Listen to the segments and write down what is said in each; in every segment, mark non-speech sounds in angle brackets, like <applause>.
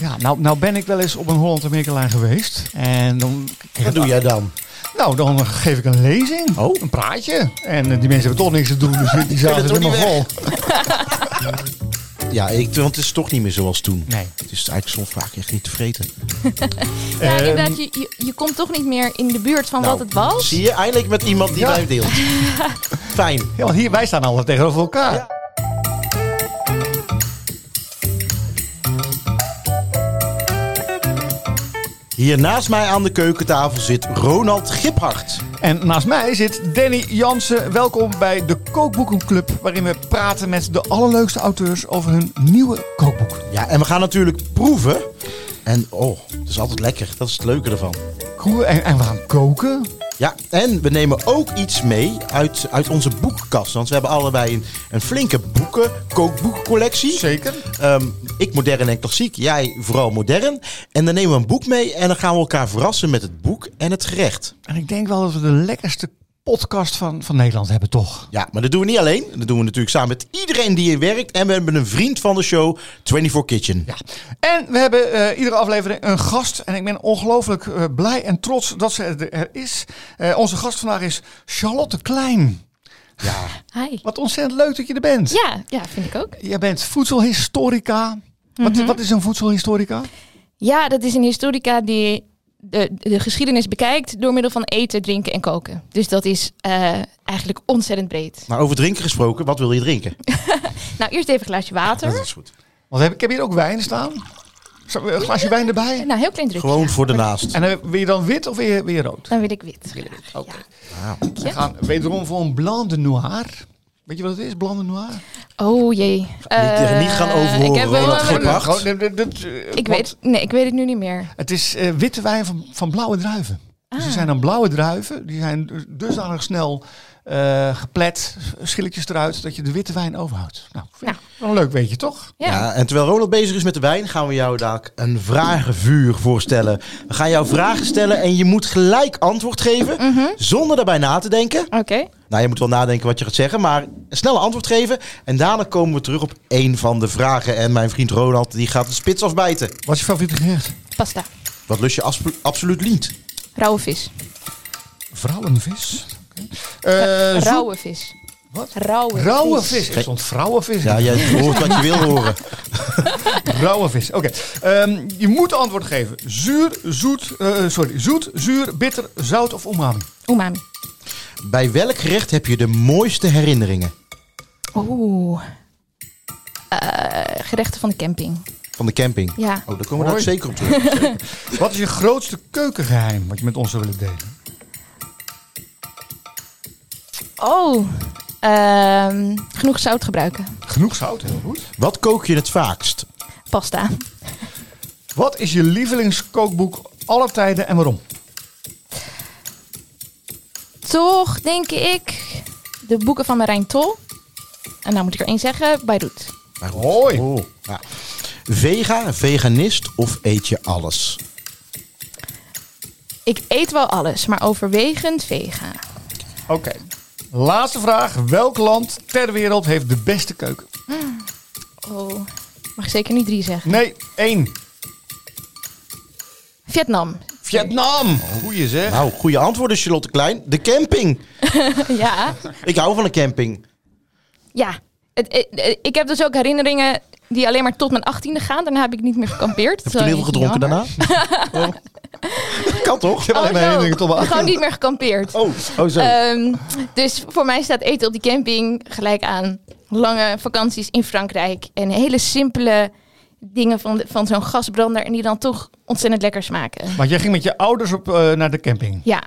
Ja, nou, nou ben ik wel eens op een Holland Amerika geweest. En dan Wat doe jij dan? Nou, dan geef ik een lezing. Oh. Een praatje. En eh, die mensen hebben toch niks te doen, dus die zaten toch helemaal niet vol. Ja, ik, want het is toch niet meer zoals toen. Nee. Het is eigenlijk soms vaak echt niet te vreten. Ehm, Ja, inderdaad, je, je, je komt toch niet meer in de buurt van Nou, wat het was. Zie je, eindelijk met iemand die Ja. mij <laughs> deelt. Fijn. Ja, want hier, wij staan altijd tegenover elkaar. Ja. Hier naast mij aan de keukentafel zit Ronald Giphart. En naast mij zit Danny Jansen. Welkom bij de Kookboekenclub, waarin we praten met de allerleukste auteurs over hun nieuwe kookboek. Ja, en we gaan natuurlijk proeven. En oh, dat is altijd lekker. Dat is het leuke ervan. Koe- En, en we gaan koken. Ja, en we nemen ook iets mee uit, uit onze boekenkast. Want we hebben allebei een, een flinke boeken, kookboekencollectie. Zeker. Ehm, ik modern en klassiek, jij vooral modern. En dan nemen we een boek mee en dan gaan we elkaar verrassen met het boek en het gerecht. En ik denk wel dat we de lekkerste podcast van, van Nederland hebben, toch? Ja, maar dat doen we niet alleen. Dat doen we natuurlijk samen met iedereen die hier werkt. En we hebben een vriend van de show, 24 Kitchen. Ja. En we hebben eh, iedere aflevering een gast. En ik ben ongelooflijk eh, blij en trots dat ze er, er is. Eh, onze gast vandaag is Charlotte Klein. Hi. Wat ontzettend leuk dat je er bent. Ja, ja, vind ik ook. Jij bent voedselhistorica. Mhm. wat, wat is een voedselhistorica? Ja, dat is een historica die de, de geschiedenis bekijkt door middel van eten, drinken en koken. Dus dat is eh, eigenlijk ontzettend breed. Maar over drinken gesproken, wat wil je drinken? Nou, eerst even een glaasje water. Dat is goed. Want heb, ik heb hier ook wijn staan. Zou- Een glasje wijn erbij. Nou, heel klein drukje. Gewoon voor de naast. En eh, wil je dan wit of wil je, wil je rood? Dan wil ik wit. graag, Oké. Wauw. We gaan wederom voor een blanc de noir. Weet je wat het is, blanc de noir? ja. Oh jee. niet- niet Eh, gaan overhoren, Ik, heb wel Ronald. een- Geen paard. Gewoon, eh, dat- dat, eh, ik, want weet, nee, ik weet het nu niet meer. Het is eh, witte wijn van, van blauwe druiven. Dus er zijn dan blauwe druiven. Die zijn dus- dusdanig snel eh, geplet, schilletjes eruit, dat je de witte wijn overhoudt. Nou, vind ik wel een leuk weetje, toch? Ja. Ja, en terwijl Ronald bezig is met de wijn, gaan we jou dadelijk een vragenvuur voorstellen. We gaan jou vragen stellen en je moet gelijk antwoord geven, zonder daarbij na te denken. Oké. Nou, je moet wel nadenken wat je gaat zeggen, maar een snelle antwoord geven. En daarna komen we terug op één van de vragen. En mijn vriend Ronald, die gaat de spits afbijten. Wat is je favoriete gerecht? Pasta. Wat lust je aspo- absoluut niet? Rauwe vis. Vrouwenvis. Eh, zoet- Rauwe vis. Wat? Rauwe, Rauwe vis. Er stond vrouwenvis. Ja, Ja, <laughs> jij hoort wat je wil horen. Rauwe vis. Oké. Ehm, je moet antwoord geven. Zuur, zoet, eh, sorry, zoet, zuur, bitter, zout of umami. Umami. Bij welk gerecht heb je de mooiste herinneringen Oeh. Eh, gerechten van de camping. van de camping? Ja. Oh, daar komen we daar Mooi. zeker <laughs> op terug. Wat is je grootste keukengeheim wat je met ons zou willen delen? Oh. Ehm, genoeg zout gebruiken. Genoeg zout, heel goed. Wat kook je het vaakst? Pasta. Wat is je lievelingskookboek alle tijden en waarom? Toch denk ik de boeken van Marijn Tol. En nou moet ik er één zeggen. Beirut. Maar goed. Mooi. Oh, ja. Vega, veganist of eet je alles? Ik eet wel alles, maar overwegend vega. Oké. Laatste vraag. Welk land ter wereld heeft de beste keuken? Oh. Mag ik zeker niet drie zeggen. Nee, één. Vietnam. <laughs> Vietnam. Goeie zeg. Nou, goede antwoorden, Charlotte Klein. De camping. ja. Ik hou van een camping. Ja. Het- het- het- ik heb dus ook herinneringen die alleen maar tot mijn achttiende gaan. Daarna heb ik niet meer gekampeerd. Heb je toen heel veel gedronken daarna? daarna? <laughs> Oh. Kan toch? Ik heb alleen maar één ding tot mijn gewoon achterhoofd. niet meer gekampeerd. Oh, oh zo. Ehm, dus voor mij staat eten op die camping gelijk aan lange vakanties in Frankrijk. En hele simpele dingen van, de- van zo'n gasbrander. En die dan toch ontzettend lekker smaken. Want jij ging met je ouders op, eh, naar de camping. Ja,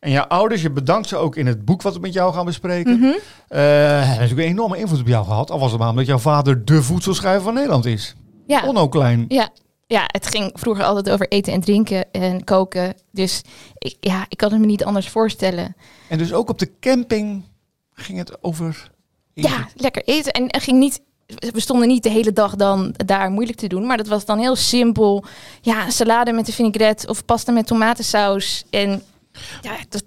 En jouw ouders, je bedankt ze ook in het boek wat we met jou gaan bespreken. Mhm. Eh, hebben natuurlijk een enorme invloed op jou gehad. Al was het maar omdat jouw vader de voedselschrijver van Nederland is. ja, Onno Klein. ja, ja, het ging vroeger altijd over eten en drinken en koken. Dus ik, ja, ik kan het me niet anders voorstellen. En dus ook op de camping ging het over... Ja, lekker eten. En er ging niet. We stonden niet de hele dag dan daar moeilijk te doen. Maar dat was dan heel simpel. Ja, een salade met de vinaigrette of pasta met tomatensaus. En ja, dat,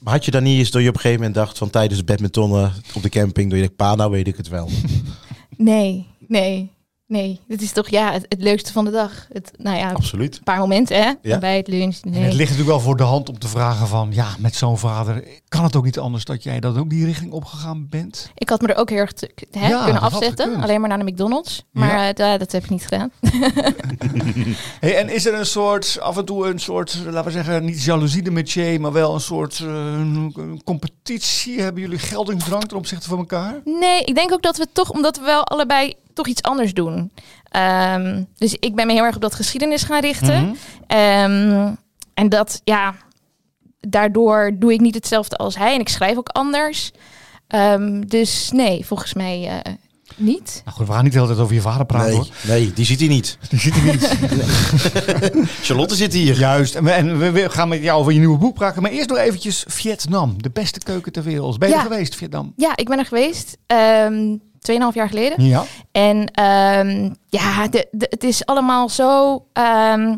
Maar had je dan niet eens dat je op een gegeven moment dacht van tijdens het badmintonnen op de camping, dat je denkt, pa, nou weet ik het wel. nee, nee. Nee, dit is toch ja, het, het leukste van de dag. Het, nou ja, een Absoluut. paar momenten hè, Ja. bij het lunch. En het Nee. ligt natuurlijk wel voor de hand om te vragen van... ja, met zo'n vader kan het ook niet anders dat jij dat ook die richting opgegaan bent? Ik had me er ook heel erg te- hè, Ja, kunnen dat had afzetten, gekund. alleen maar naar de McDonald's. Maar eh, da- dat heb ik niet gedaan. Hey, en is er een soort, af en toe een soort, laten we zeggen... niet jaloezie de métier, maar wel een soort eh, competitie? Hebben jullie geldingsdrang ten opzichte van elkaar? Nou Nee, ik denk ook dat we toch, omdat we wel allebei toch iets anders doen. Ehm, dus ik ben me heel erg op dat geschiedenis gaan richten. Mhm. Ehm, en dat, ja, daardoor doe ik niet hetzelfde als hij en ik schrijf ook anders. Ehm, dus nee, volgens mij eh, niet. Nou goed, we gaan niet de hele tijd over je vader praten hoor. Nee, nee, die ziet hij niet. Die zit er niet. <laughs> Charlotte zit hier. Juist. En, we, en we- we gaan met jou over je nieuwe boek praten. Maar eerst nog eventjes Vietnam. De beste keuken ter wereld. Ben je Ja. er geweest, Vietnam? Ja, ik ben er geweest. Ehm 2,5 jaar geleden. Ja. En ehm, ja, de, de- het is allemaal zo ehm,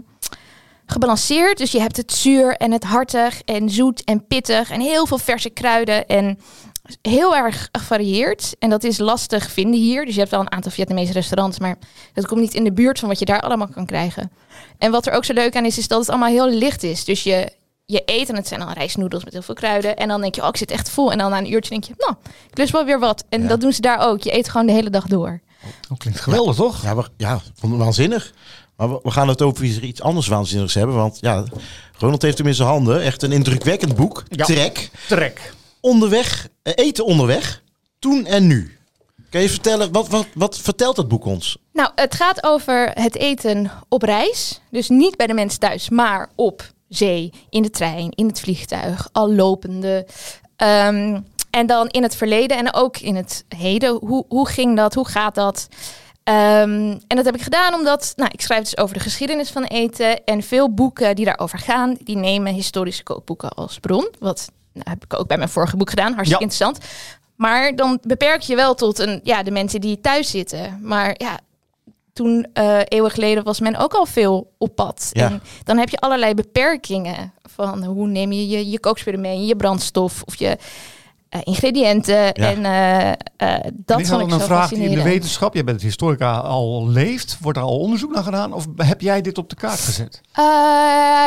gebalanceerd. Dus je hebt het zuur en het hartig en zoet en pittig en heel veel verse kruiden en heel erg gevarieerd. En dat is lastig vinden hier. Dus je hebt wel een aantal Vietnamese restaurants, maar dat komt niet in de buurt van wat je daar allemaal kan krijgen. En wat er ook zo leuk aan is, is dat het allemaal heel licht is. Dus je, je eet en het zijn al rijstnoedels met heel veel kruiden. En dan denk je, oh, ik zit echt vol. En dan na een uurtje denk je, nou, ik lust wel weer wat. En Ja. dat doen ze daar ook. Je eet gewoon de hele dag door. Dat Oh, klinkt geweldig, toch? Ja, maar, ja vond het waanzinnig. Maar we, we gaan het over iets- iets anders waanzinnigs hebben. Want ja, Ronald heeft hem in zijn handen. Echt een indrukwekkend boek. Ja. Trek. Trek. Onderweg, eh, eten onderweg. Toen en nu. Kan je vertellen, wat, wat, wat vertelt dat boek ons? Nou, het gaat over het eten op reis. Dus niet bij de mens thuis, maar op zee, in de trein, in het vliegtuig, al lopende. Ehm, en dan in het verleden en ook in het heden. Hoe, hoe ging dat? Hoe gaat dat? Ehm, en dat heb ik gedaan omdat nou, ik schrijf dus over de geschiedenis van eten. En veel boeken die daarover gaan, die nemen historische kookboeken als bron. Wat nou, heb ik ook bij mijn vorige boek gedaan. Hartstikke Ja. interessant. Maar dan beperk je wel tot een, ja, de mensen die thuis zitten. Maar ja, toen eh, eeuwen geleden was men ook al veel op pad. Ja. En dan heb je allerlei beperkingen. Van hoe neem je je, je kookspullen mee, je brandstof of je eh, ingrediënten. En eh, eh, dat is vond dan ik een zo vraag die in de fascinerend. wetenschap, jij bent historica, al leeft. Wordt er al onderzoek naar gedaan? Of heb jij dit op de kaart gezet? Eh,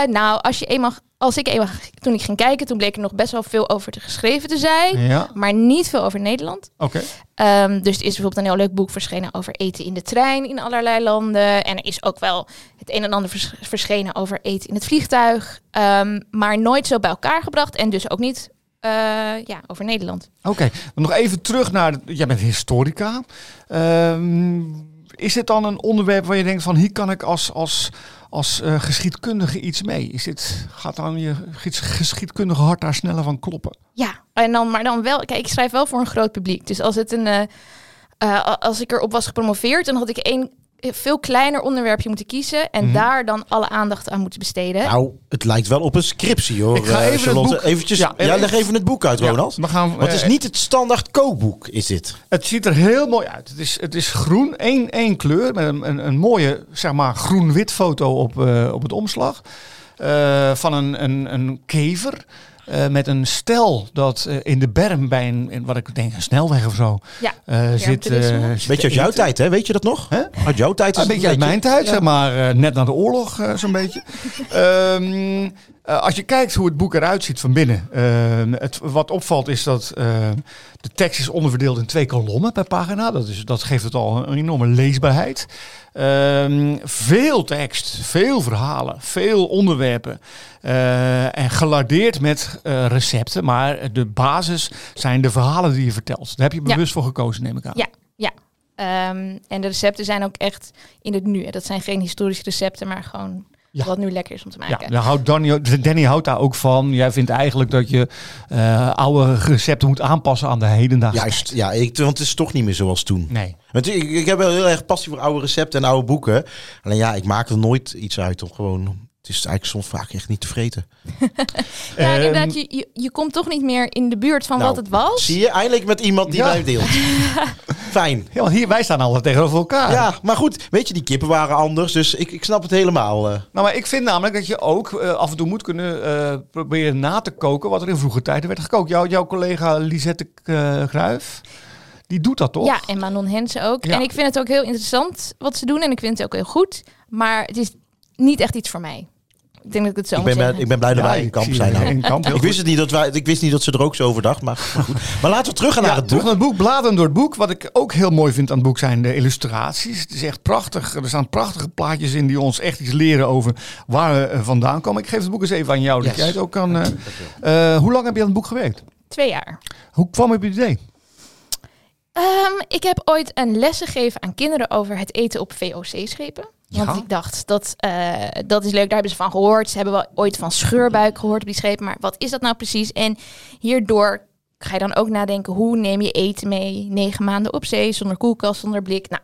nou, als, je eenmaal, als ik eenmaal, toen ik ging kijken, toen bleek er nog best wel veel over te geschreven te zijn. Ja. Oké. Maar niet veel over Nederland. Ehm, dus er is bijvoorbeeld een heel leuk boek verschenen over eten in de trein in allerlei landen. En er is ook wel het een en ander vers- verschenen over eten in het vliegtuig. Ehm, maar nooit zo bij elkaar gebracht en dus ook niet eh, ja, over Nederland. Oké. Maar Nog even terug naar, jij bent historica. Ehm, is dit dan een onderwerp waar je denkt van hier kan ik als, als, als eh, geschiedkundige iets mee? Is dit, gaat dan je ges- geschiedkundige hart daar sneller van kloppen? Ja, en dan, maar dan wel. Kijk, ik schrijf wel voor een groot publiek. Dus als, het een, eh, eh, a- als ik erop was gepromoveerd, dan had ik één eh, veel kleiner onderwerpje moeten kiezen. En Mhm. daar dan alle aandacht aan moeten besteden. Nou, het lijkt wel op een scriptie hoor, Eh? Ik ga eh, even het Charlotte. boek- Eventjes, ja, Ja, even- leg even het boek uit, Ronald. Ja, we gaan, Want het is eh, niet het standaard kookboek, is dit. Het ziet er heel mooi uit. Het is, het is groen, één, één kleur. Met een, een, een mooie zeg maar, groen-wit foto op, eh, op het omslag. Eh, van een, een, een kever. eh, met een stel dat eh, in de berm bij een, in wat ik denk, een snelweg of zo ja. eh, zit. eh, Bermtoerisme. zit Beetje uit jouw eten. tijd, hè? Weet je dat nog? eh, Hè? Uit jouw tijd is Een beetje uit mijn tijd, zeg maar. eh, net na de oorlog, eh, zo'n beetje. Ehm, eh, als je kijkt hoe het boek eruit ziet van binnen. eh, het, wat opvalt is dat eh, de tekst is onderverdeeld in twee kolommen per pagina. Dat, is, dat geeft het al een, enorme leesbaarheid. Ehm, veel tekst, veel verhalen, veel onderwerpen. eh, en gelardeerd met eh, recepten. Maar de basis zijn de verhalen die je vertelt. Daar heb je Ja. bewust voor gekozen, neem ik aan. Ja. Ehm, en de recepten zijn ook echt in het nu. hè. Dat zijn geen historische recepten, maar gewoon Ja. wat nu lekker is om te Ja, maken. daar houdt Danny, Danny houdt daar ook van. Jij vindt eigenlijk dat je eh, oude recepten moet aanpassen aan de hedendaagse. Juist, ja, ik, want het is toch niet meer zoals toen. Nee. Want ik, ik heb wel heel erg passie voor oude recepten en oude boeken. Alleen ja, ik maak er nooit iets uit om gewoon... Het is eigenlijk soms vaak echt niet te vreten. Ja, Ehm, inderdaad, je, je, je komt toch niet meer in de buurt van Nou, wat het was. Zie je, eindelijk met iemand die Ja. <laughs> mij deelt. Fijn. ja, want hier, wij staan altijd tegenover elkaar. Ja, maar goed, weet je, die kippen waren anders, dus ik, ik snap het helemaal. eh. Nou, maar ik vind namelijk dat je ook eh, af en toe moet kunnen eh, proberen na te koken wat er in vroege tijden werd gekookt. Jouw, jouw collega Lisette Kruijf, eh, die doet dat toch? Ja, en Manon Hensen ook. Ja. En ik vind het ook heel interessant wat ze doen. En ik vind het ook heel goed. Maar het is niet echt iets voor mij. Ik denk dat ik het zo Ik moet ben, blij- zeggen. ik ben blij dat wij in kamp <laughs> zijn. nou. In kamp, heel Ik wist, het niet dat wij, ik wist niet dat ze er ook zo over dacht, maar, maar goed. Maar laten we terug gaan naar Ja, het terug boek. naar het boek. Bladeren door het boek. Wat ik ook heel mooi vind aan het boek zijn de illustraties. Het is echt prachtig. Er staan prachtige plaatjes in die ons echt iets leren over waar we eh, vandaan komen. Ik geef het boek eens even aan jou, dat Yes. jij het ook kan... eh, eh, hoe lang heb je aan het boek gewerkt? Twee jaar. Hoe kwam je op het idee? Ehm, ik heb ooit een les gegeven aan kinderen over het eten op VOC-schepen. Want Ja. ik dacht, dat, eh, dat is leuk, daar hebben ze van gehoord. Ze hebben wel ooit van scheurbuik gehoord op die schepen. Maar wat is dat nou precies? En hierdoor ga je dan ook nadenken, hoe neem je eten mee? Negen maanden op zee, zonder koelkast, zonder blik. Nou,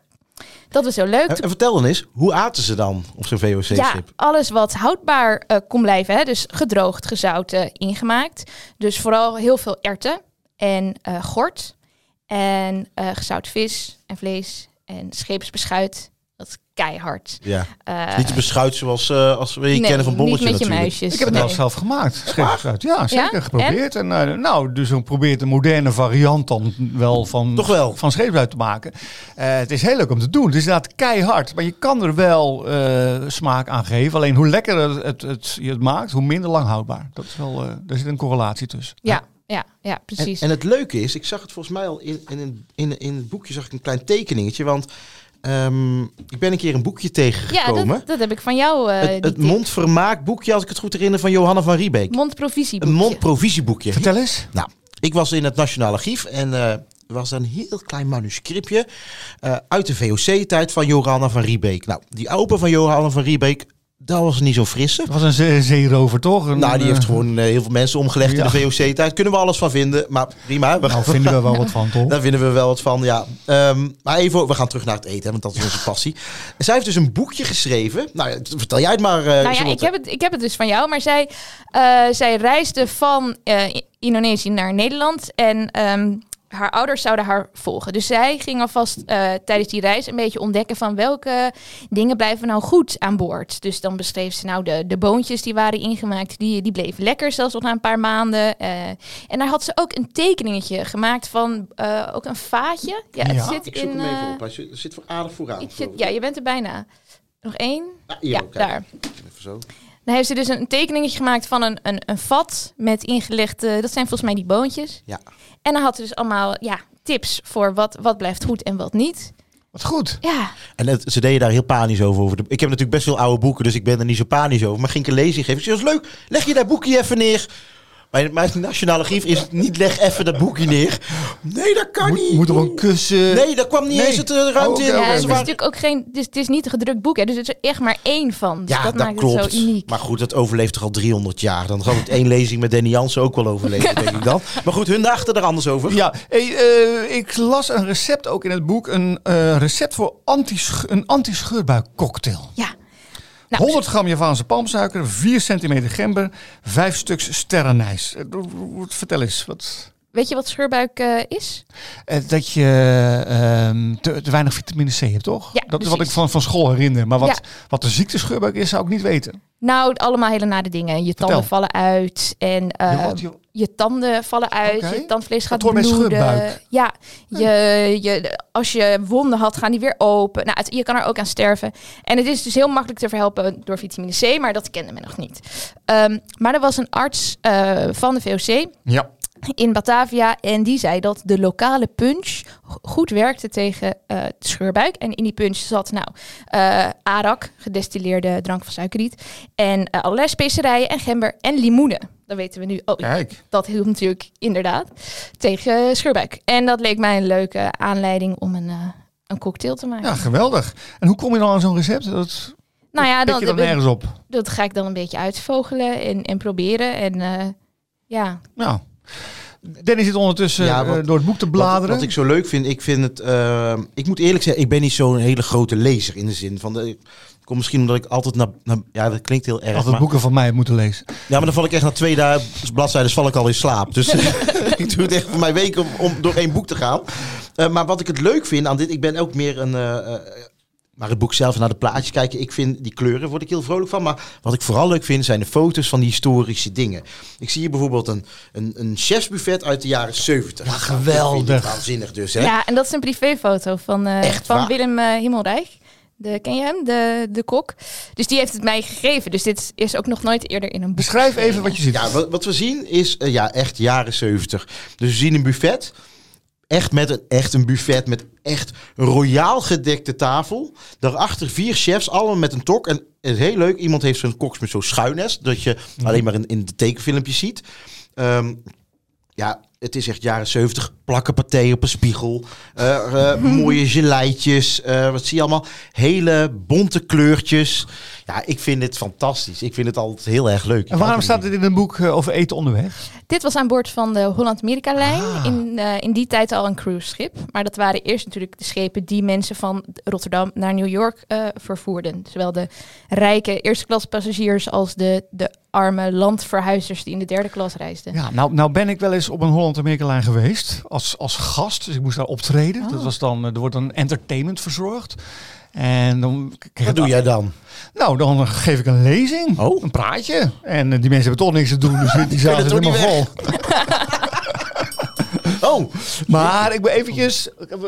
dat was heel leuk. En, en vertel dan eens, hoe aten ze dan op zo'n Ja, VOC-schip? alles wat houdbaar eh, kon blijven. Hè? Dus gedroogd, gezouten, ingemaakt. Dus vooral heel veel erwten en eh, gort. En eh, gezout vis en vlees en scheepsbeschuit. Dat is keihard. Ja. Eh, Niet te beschuit zoals, eh, als we je nee, kennen van Bolletje Niet met je natuurlijk. muisjes. Ik heb het nee. wel zelf gemaakt. Scheepsbeschuit. Ja, zeker. Ja? Geprobeerd. En? eh, nou, dus ik probeert een moderne variant dan wel van, Toch wel? van scheepsbeschuit te maken. Eh, het is heel leuk om te doen. Het is inderdaad keihard. Maar je kan er wel eh, smaak aan geven. Alleen hoe lekkerder het, het, het- je het maakt, hoe minder lang houdbaar. Dat is wel, eh, daar zit een correlatie tussen. Ja, ja, ja, En, precies. en het leuke is, ik zag het volgens mij al in, in, in, in het boekje zag ik een klein tekeningetje. Want ehm, ik ben een keer een boekje ja, tegengekomen. dat, dat heb ik van jou. eh, het die het tip. mondvermaakboekje, als ik het goed herinner, van Johanna van Riebeek. Mondprovisieboekje. Een mondprovisieboekje. Vertel eens. Nou, ik was in het Nationaal Archief en eh, er was een heel klein manuscriptje eh, uit de VOC-tijd van Johanna van Riebeek. Nou, die opa van Johanna van Riebeek, dat was niet zo'n frisse. Het was een zee- zeerover, toch? Een, Nou, die eh, heeft gewoon eh, heel veel mensen omgelegd Ja. in de VOC-tijd. Kunnen we alles van vinden, maar prima. We Nou, vinden we wel wat van, toch? daar vinden we wel wat van, ja. Ehm, maar even, we gaan terug naar het eten, hè, want dat is onze passie. Zij heeft dus een boekje geschreven. Nou, ja, vertel jij het maar. eh, Nou ja, Charlotte. ik heb, het, ik heb het dus van jou. Maar zij, eh, zij reisde van eh, I- Indonesië naar Nederland. En ehm, haar ouders zouden haar volgen. Dus zij ging alvast eh, tijdens die reis een beetje ontdekken van welke dingen blijven nou goed aan boord. Dus dan beschreef ze nou de, de boontjes die waren ingemaakt. Die, die bleven lekker zelfs nog na een paar maanden. Eh, en daar had ze ook een tekeningetje gemaakt van eh, ook een vaatje. Ja, het Ja, zit Ik zoek in... hem even eh, op. Hij zit, zit voor aardig vooraan. het zit, geloof ik. ja, je bent er bijna. Nog één? Ah, hier, ja, kijk. daar. Even zo. Dan heeft ze dus een tekeningetje gemaakt van een, een, een vat met ingelegde, dat zijn volgens mij die boontjes. Ja. En dan had ze dus allemaal ja, tips voor wat, wat blijft goed en wat niet. Wat goed. Ja, En het- ze deden daar heel panisch over. over de, ik heb natuurlijk best veel oude boeken, dus ik ben er niet zo panisch over. Maar ging ik een lezing geven. Ik zei, dat is leuk, leg je dat boekje even neer. Mijn, mijn nationale grief is niet leg even dat boekje neer. Nee, dat kan Moet, niet. moet er een kussen... Nee, daar kwam niet Nee. eens het eh, ruimte Oh, oké, in. oké, oké. ja dus het Ze is waren- natuurlijk ook geen, dus het is niet een gedrukt boek, hè, dus het is er echt maar één van. Dus Ja, dat, dat, maakt klopt. het zo uniek. Maar goed, dat overleeft toch al 300 jaar. Dan zal het één lezing met Danny Jansen ook wel <laughs> overleven, denk ik dan. Maar goed, hun dachten er anders over. Ja, hey, eh, ik las een recept ook in het boek. Een eh, recept voor anti een anti-scheurbuikcocktail. Ja. Nou, 100 gram Javaanse palmsuiker, 4 centimeter gember, 5 stuks sterrenijs. Eh, do- do- Vertel eens, wat, dus Weet je wat scheurbuik eh, is? eh, dat je ehm, te, te weinig vitamine C hebt, toch? Ja, dat is wat precies. ik van, van school herinner. Maar wat, Ja. wat de ziekte scheurbuik is, zou ik niet weten. Nou, allemaal hele nare dingen. Je tanden vallen uit en eh, Je wat, joh? je tanden vallen uit, Oké. je tandvlees gaat hoort bij Hm. bloeden. scheurbuik. Ja, je, je, als je wonden had, gaan die weer open. Nou, het- je kan er ook aan sterven. En het is dus heel makkelijk te verhelpen door vitamine C, maar dat kende men nog niet. Ehm, maar er was een arts eh, van de VOC Ja. in Batavia en die zei dat de lokale punch go- goed werkte tegen eh de scheurbuik. En in die punch zat nou eh, arak, gedestilleerde drank van suikerriet, en eh, allerlei specerijen en gember en limoenen. Dat weten we nu Oh, ook. Kijk. Dat hielp natuurlijk inderdaad tegen scheurbuik. En dat leek mij een leuke aanleiding om een, eh, een cocktail te maken. Ja, geweldig. En hoe kom je dan aan zo'n recept? Dat nou ja, pik je dan dat, nergens op. dat ga ik dan een beetje uitvogelen en, en proberen. En eh, ja, Ja. Nou, Dennis zit ondertussen Ja, eh, wat- door het boek te bladeren. Wat, wat ik zo leuk vind, ik vind het. eh, ik moet eerlijk zeggen, ik ben niet zo'n hele grote lezer in de zin van. De, Kom misschien omdat ik altijd naar, naar- Ja, dat klinkt heel erg. Had het Maar, boeken van mij moeten lezen. ja, maar dan val ik echt na twee dagen bladzijden val ik al in <laughs> slaap. Dus <laughs> ik doe het echt voor mijn week om, om door één boek te gaan. Eh, maar wat ik het leuk vind aan dit, ik ben ook meer een. eh, eh, Maar het boek zelf, naar de plaatjes kijken, ik vind die kleuren, word ik heel vrolijk van. Maar wat ik vooral leuk vind, zijn de foto's van die historische dingen. Ik zie hier bijvoorbeeld een, een, een chefsbuffet uit de jaren 70. Ja, geweldig. Waanzinnig dus, hè? Ja, en dat is een privéfoto van, eh, Echt van waar? Willem eh, Himmelrijk. De, ken je hem, de, de kok? Dus die heeft het mij gegeven. Dus dit is ook nog nooit eerder in een boek. Beschrijf even wat je ziet. Ja, wat, wat we zien is eh, ja, echt jaren 70. Dus we zien een buffet. Echt, met een, echt een buffet met echt een royaal gedekte tafel. Daarachter vier chefs, allemaal met een tok. En het is heel leuk, iemand heeft zo'n koks met zo'n schuines. Dat je Mhm. alleen maar in, in de tekenfilmpjes ziet. Ehm, ja, het is echt jaren 70. Plakken paté op een spiegel. eh, Mhm. eh, mooie geleitjes. eh, wat zie je allemaal? Hele bonte kleurtjes. Ja, ik vind het fantastisch. Ik vind het altijd heel erg leuk. Ik En hou waarom van die staat dit in een boek eh, over eten onderweg? Dit was aan boord van de Holland-Amerika-lijn. Ah. In, eh, in die tijd al een cruiseschip. Maar dat waren eerst natuurlijk de schepen die mensen van Rotterdam naar New York eh, vervoerden. Zowel de rijke eerste klas passagiers als de, de arme landverhuizers die in de derde klas reisden. Ja, nou, nou ben ik wel eens op een Holland-Amerika-lijn geweest als, als gast. Dus ik moest daar optreden. Oh. Dat was dan, eh, er wordt dan entertainment verzorgd. En dan k- kreeg Wat het doe jij dan? Nou, dan geef ik een lezing. Oh. Een praatje. En eh, die mensen hebben toch niks te doen, dus die- die zaten <laughs> kunnen toch helemaal vol. Oh, Maar ik ben eventjes... Er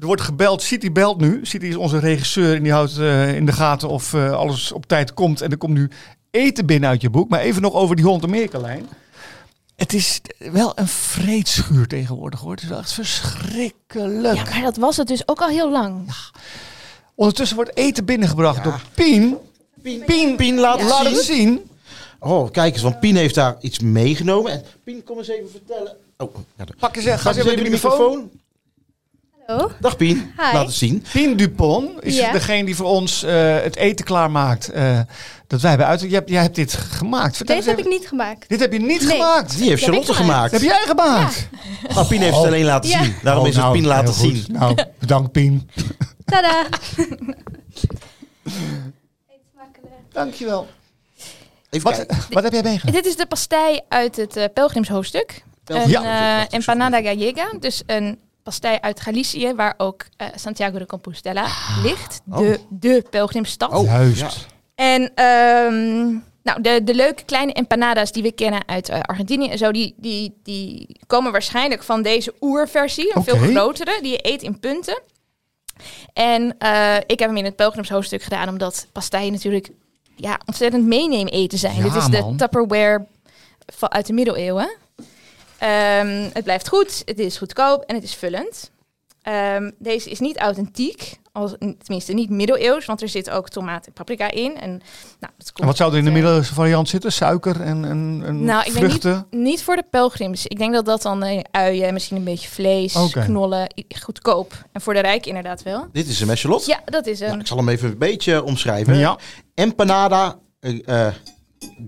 wordt gebeld. City belt nu. City is onze regisseur en die houdt eh, in de gaten of eh, alles op tijd komt. En er komt nu eten binnen uit je boek. Maar even nog over die Holland-Amerika-lijn. Het is wel een vreedschuur tegenwoordig, hoor. Het is wel echt verschrikkelijk. Ja, maar dat was het dus ook al heel lang. Ondertussen wordt eten binnengebracht door Pien. Pien, Pien, laat Laat het het zien. zien. Oh, kijk eens, want Pien heeft daar iets meegenomen. En Pien, kom eens even vertellen. Oh, ja, de- Pak eens, eh, ga Pak eens even de microfoon. Hallo. Dag Pien, laat het zien. Pien Dupont is Ja. degene die voor ons eh, het eten klaarmaakt. eh, dat wij hebben uit. Jij hebt, jij hebt dit gemaakt. Vertel Deze heb eens ik even. niet gemaakt. Dit heb je niet Nee. gemaakt. Die heeft heb ik Charlotte gemaakt. Heb jij gemaakt? Maar Pien heeft het alleen laten Ja. zien. Daarom Oh, is het nou, Pien laten heel goed. zien. <laughs> Nou, bedankt Pien. Tada! Dankjewel. Even Wat, kijken. wat heb jij meegemaakt? Eh, Dit is de pastei uit het eh, Pelgrimshoofdstuk. Een Ja. eh, empanada gallega, dus een pastei uit Galicië, waar ook eh, Santiago de Compostela Ah. ligt, Oh. de, de pelgrimstad. Oh, Juist. ja. En ehm, nou, de, de leuke kleine empanadas die we kennen uit eh, Argentinië en zo, die, die, die komen waarschijnlijk van deze oerversie, een Oké. veel grotere, die je eet in punten. En eh, ik heb hem in het pelgrimshoofdstuk gedaan, omdat pasteien natuurlijk ja, ontzettend meeneem eten zijn. Ja, Dit is man. de Tupperware van, uit de middeleeuwen. Ehm, het blijft goed, het is goedkoop en het is vullend. Ehm, deze is niet authentiek, als, tenminste niet middeleeuws, want er zit ook tomaat en paprika in. En, nou, dat En komt wat zou er in de uit, eh, middelste variant zitten? Suiker en, en, en Nou, ik weet vruchten? Niet voor de pelgrims. Ik denk dat dat dan eh, uien, misschien een beetje vlees, Oké. knollen, i- goedkoop. En voor de rijk inderdaad wel. Dit is hem, hè Charlotte? Ja, dat is een. Nou, ik zal hem even een beetje omschrijven. Ja. Empanada eh eh,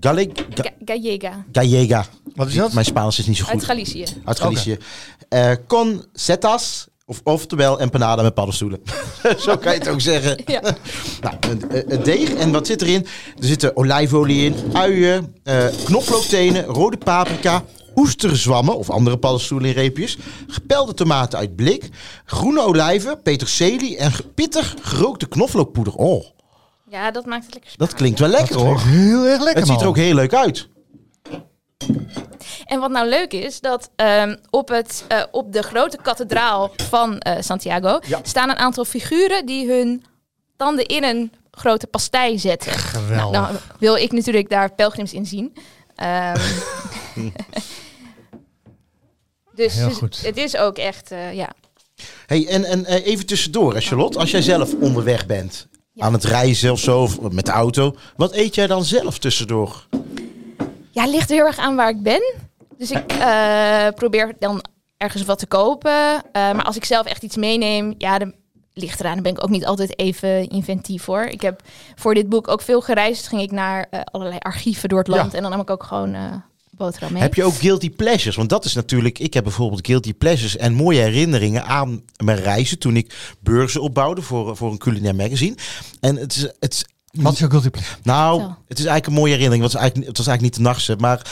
Galleg- Ga- Ga- Gallega, Gallega. Wat is dat? Mijn Spaans is niet zo uit goed. Galicië. Uit Galicië. Eh, con setas, of, oftewel empanada met paddenstoelen. <laughs> Zo kan je het ook zeggen. Ja. <laughs> Nou, een, een- een deeg. En wat zit erin? Er zitten olijfolie in, uien, eh knoflooktenen, rode paprika, oesterzwammen of andere paddenstoelen in reepjes, gepelde tomaten uit blik, groene olijven, peterselie en ge- pittig gerookte knoflookpoeder. Oh, Ja, dat maakt het lekker dat spannend. klinkt wel lekker Dat hoor. klinkt Heel erg lekker, Het ziet er ook heel leuk uit. En wat nou leuk is, dat ehm, op, het, eh, op de grote kathedraal van eh, Santiago staan een aantal figuren die hun tanden in een grote pastei zetten. Nou, dan wil ik natuurlijk daar pelgrims in zien. Ehm, <laughs> <laughs> dus Heel dus goed. het is ook echt, eh, ja. Hey, en, en eh, even tussendoor, hè, Charlotte. Als jij zelf onderweg bent, Ja. aan het reizen of zo, of met de auto, wat eet jij dan zelf tussendoor? Ja, het ligt heel erg aan waar ik ben. Dus ik eh, probeer dan ergens wat te kopen. Eh, maar als ik zelf echt iets meeneem, ja, dan ligt eraan. Dan ben ik ook niet altijd even inventief hoor. Ik heb voor dit boek ook veel gereisd. Ging ik naar eh, allerlei archieven door het land. En dan nam ik ook gewoon eh boterham mee. Heb je ook guilty pleasures? Want dat is natuurlijk, ik heb bijvoorbeeld guilty pleasures en mooie herinneringen aan mijn reizen toen ik beurzen opbouwde voor, voor een culinair magazine. En het is, het is Wat is jouw guilty pleasure? Nou, Vertel. het is eigenlijk een mooie herinnering. want Het, is eigenlijk, het was eigenlijk niet de nachtse. Maar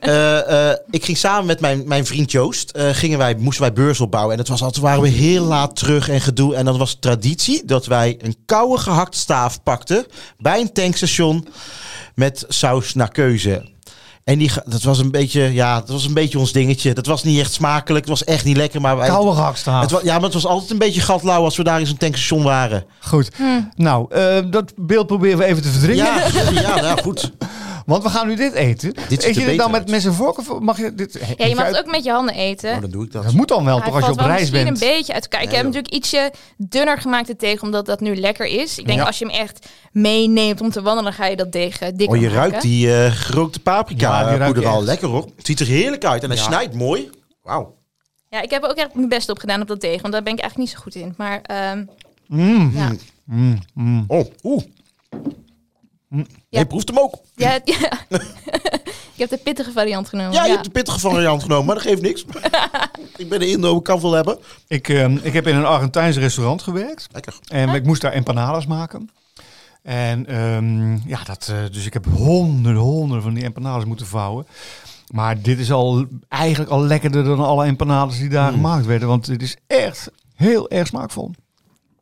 eh, eh, ik ging samen met mijn, mijn vriend Joost. eh, gingen wij, moesten wij beurs opbouwen. En het was altijd, waren we heel laat terug en gedoe. En dan was het traditie dat wij een koude gehakt staaf pakten. Bij een tankstation. Met saus naar keuze. En die, ge- dat, was een beetje, ja, dat was een beetje ons dingetje. Dat was niet echt smakelijk. Het was echt niet lekker. Maar wij, Koude gehaktstaaf. het wa- ja, maar het was altijd een beetje gatlauw als we daar in zo'n tankstation waren. Goed. Hm. Nou, eh, dat beeld proberen we even te verdringen. Ja, ja nou goed. Want we gaan nu dit eten. ziet er Eet je dit beter dan met uit. mes en vork? Of mag je dit... Ja, je mag het ook met je handen eten. Nou, dan doe ik dat. Dat moet dan wel, Maar toch, als het je op valt wel reis misschien bent. een beetje uit elkaar. Ik Nee, heb joh. natuurlijk ietsje dunner gemaakt de deeg, omdat dat nu lekker is. Ik denk Ja. als je hem echt meeneemt om te wandelen, dan ga je dat deeg eh, dikker Oh, je maken. ruikt die eh, gerookte Ja, die paprika eh, ruik je poeder al. echt. Lekker hoor. Het ziet er heerlijk uit en hij Ja. snijdt mooi. Wauw. Ja, ik heb er ook echt mijn best op gedaan op dat deeg, want daar ben ik eigenlijk niet zo goed in. Maar ehm, Hmm. Mm. ja. Mm, mm. Oh, oeh. Ja. Oh, Je proeft hem ook. Ja, <laughs> het- ja. ik heb de pittige variant genomen. Ja, je hebt de pittige variant genomen, maar dat geeft <laughs> niks. ik ben de Indo, ik kan veel hebben. Ik, ehm, ik heb in een Argentijns restaurant gewerkt. Lekker. En ik moest daar empanadas maken. En ehm, ja, dat, eh, dus ik heb honderden, honderden van die empanadas moeten vouwen. Maar dit is al eigenlijk al lekkerder dan alle empanadas die daar gemaakt werden. Want dit is echt heel erg smaakvol.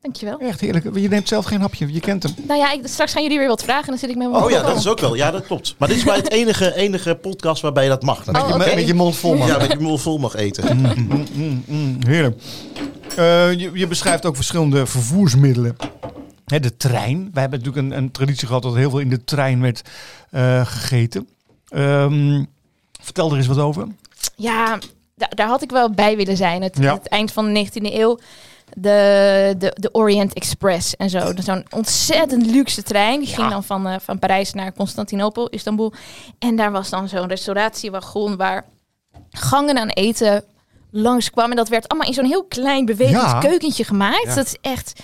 Dankjewel. Echt heerlijk. Je neemt zelf geen hapje, je kent hem. Nou ja, ik, straks gaan jullie weer wat vragen en dan zit ik met mijn Oh ja, mond dat vol. is ook wel. Ja, dat klopt. Maar dit is bij het enige, enige podcast waarbij dat mag. Oh, je, oké. met, met je mond vol, man. Ja, dat je hem vol mag eten. Mm, mm, mm, heerlijk. Eh, je, je beschrijft ook verschillende vervoersmiddelen. Hè, de trein. Wij hebben natuurlijk een, een traditie gehad dat heel veel in de trein werd eh, gegeten. Ehm, vertel er eens wat over. Ja, da- daar had ik wel bij willen zijn. Het, Ja. het eind van de 19e eeuw. De, de, de Orient Express en zo. Dat is Zo'n ontzettend luxe trein. Die ging dan van, eh, van Parijs naar Constantinopel, Istanbul. En daar was dan zo'n restauratiewagon waar gangen aan eten langskwam. En dat werd allemaal in zo'n heel klein bewegend Ja. keukentje gemaakt. Ja. Dat is echt,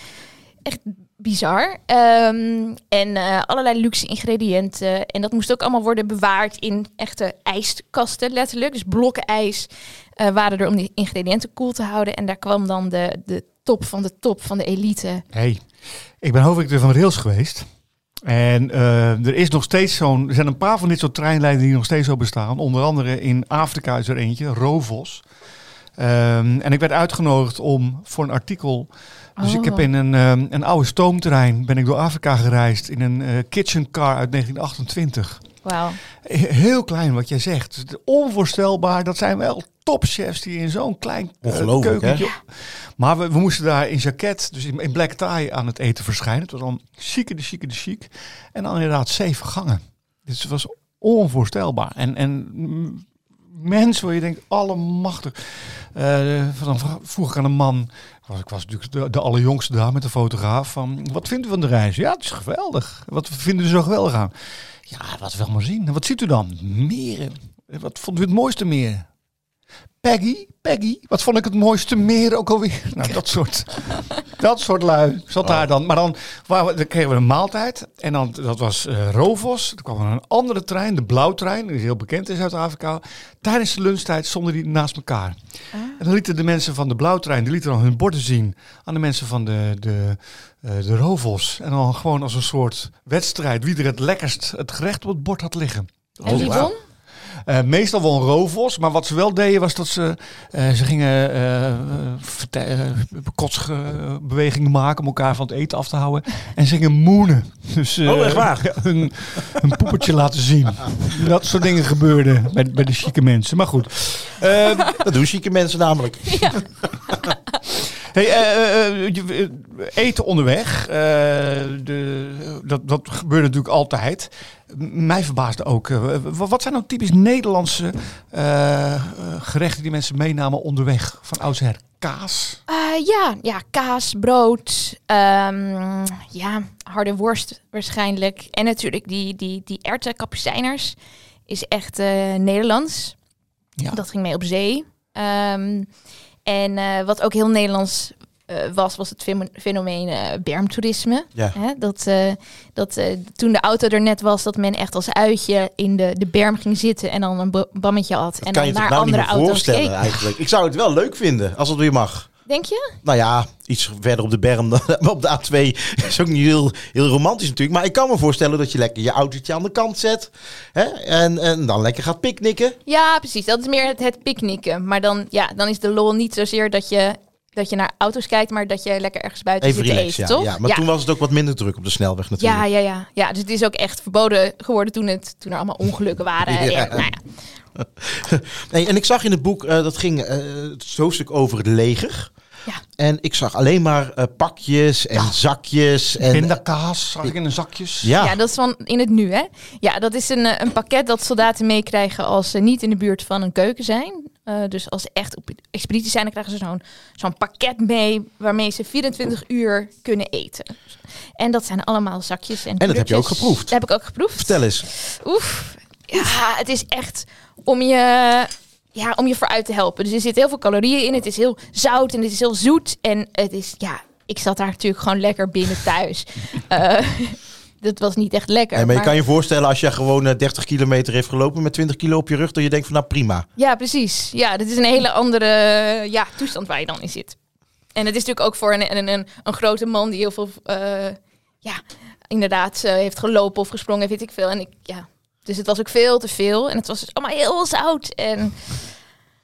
echt bizar. Ehm, en eh, allerlei luxe ingrediënten. En dat moest ook allemaal worden bewaard in echte ijskasten, letterlijk. Dus blokken ijs eh, waren er om die ingrediënten koel te houden. En daar kwam dan de, de top van de top van de elite. Hey, ik ben hoofdredacteur van Rails geweest. En eh, er is nog steeds zo'n. Er zijn een paar van dit soort treinlijnen die nog steeds zo bestaan. Onder andere in Afrika is er eentje, Rovos. Ehm, en ik werd uitgenodigd om voor een artikel. Dus ik heb Oh. in een, ehm, een oude stoomtrein ben ik door Afrika gereisd in een eh, kitchen car uit 1928. Wauw. He- Heel klein wat jij zegt. Het is Onvoorstelbaar. Dat zijn wel topchefs die in zo'n klein eh, Ongelooflijk, keukentje- Maar we, we moesten daar in jacket, dus in, in black tie aan het eten verschijnen. Het was dan chique de chique de chic. En dan inderdaad zeven gangen. Dus het was onvoorstelbaar. En, en mm, mensen waar je denkt, allemachtig. Eh, dan vra- vroeg ik aan een man, was, ik was natuurlijk de, de allerjongste daar met de fotograaf, van wat vindt u van de reis? Ja, het is geweldig. Wat vinden u zo geweldig aan? Ja, laten we wel maar zien. En Wat ziet u dan? Meren. En Eh, Wat vond u het mooiste meer? Peggy, Peggy, wat vond ik het mooiste meer ook alweer? <laughs> Nou, dat soort, dat soort lui zat daar dan. Maar dan, waar we- dan kregen we een maaltijd. En dan, dat was eh, Rovos. Er kwam een andere trein, de Blauwtrein, die heel bekend is uit Afrika. Tijdens de lunchtijd stonden die naast elkaar. Ah. En dan lieten de mensen van de Blauwtrein, die lieten dan hun borden zien aan de mensen van de, de, eh, de Rovos. En dan gewoon als een soort wedstrijd wie er het lekkerst het gerecht op het bord had liggen. en wie won? Eh, meestal won Rovos, maar wat ze wel deden was dat ze, eh, ze gingen eh, eh, verte- eh, kotsbewegingen maken om elkaar van het eten af te houden. En ze gingen moenen. Dus, eh, Oh, echt waar? <laughs> Hun, hun poepertje laten zien. Dat soort dingen gebeurden bij, bij de chique mensen. Maar goed. Eh, Dat doen chique mensen <laughs> namelijk. Hey, eh, eh, eh, je- eh, eten onderweg, eh, de, dat, dat gebeurt natuurlijk altijd. M- mij verbaasde ook, eh, w- wat zijn nou typisch Nederlandse eh, eh, gerechten die mensen meenamen onderweg? Van oudsher kaas. Eh, ja, ja, kaas, brood, ehm, ja, harde worst waarschijnlijk. En natuurlijk die, die, die erwten, kapucijners, is echt eh, Nederlands. Ja. Dat ging mee op zee. Ehm, en eh, wat ook heel Nederlands eh, was, was het femo- fenomeen eh, bermtoerisme. Ja. Hè, dat eh, dat eh, toen de auto er net was, dat men echt als uitje in de, de berm ging zitten en dan een bo- bammetje had. Dat kan en dan je naar toch nou niet andere meer auto's voorstellen keek. eigenlijk. Ik zou het wel leuk vinden, als het weer mag. Denk je? Nou ja, iets verder op de berm dan <laughs> maar op de A2 is ook niet heel, heel romantisch natuurlijk. Maar ik kan me voorstellen dat je lekker je autootje aan de kant zet. Hè? En, en dan lekker gaat picknicken. Ja, precies. Dat is meer het, het picknicken. Maar dan, ja, dan is de lol niet zozeer dat je, dat je naar auto's kijkt, maar dat je lekker ergens buiten Even zit te relaxen, eten, ja. toch? ja. Maar toen was het ook wat minder druk op de snelweg natuurlijk. Ja, ja, ja, ja. Dus het is ook echt verboden geworden toen, het, toen er allemaal ongelukken <laughs> waren. Ja. En, nou ja. <laughs> Nee, en ik zag in het boek, eh, dat ging eh, het hoofdstuk over het leger. Ja. En ik zag alleen maar eh, pakjes en zakjes. En, eh, Pindakaas zag ik in de zakjes. ja. Ja, dat is van in het nu, hè? Ja, dat is een, eh, een pakket dat soldaten meekrijgen als ze niet in de buurt van een keuken zijn. Eh, dus als ze echt op expeditie zijn, dan krijgen ze zo'n zo'n pakket mee waarmee ze 24 uur kunnen eten. En dat zijn allemaal zakjes en En dat heb je ook drukjes. geproefd. Dat heb ik ook geproefd. Vertel eens. Oef. Ja, het is echt om je, ja, om je vooruit te helpen. Dus er zit heel veel calorieën in. Het is heel zout en het is heel zoet. En het is, ja, ik zat daar natuurlijk gewoon lekker binnen thuis. <laughs> Eh, dat was niet echt lekker. Nee, maar je maar- kan je voorstellen als je gewoon eh, 30 kilometer heeft gelopen met 20 kilo op je rug. Dat je denkt van nou prima. Ja, precies. Ja, dat is een hele andere ja, toestand waar je dan in zit. En het is natuurlijk ook voor een, een, een, een grote man die heel veel, eh, ja, inderdaad eh, heeft gelopen of gesprongen, weet ik veel. En ik, ja, dus het was ook veel te veel. En het was dus allemaal heel zout. En,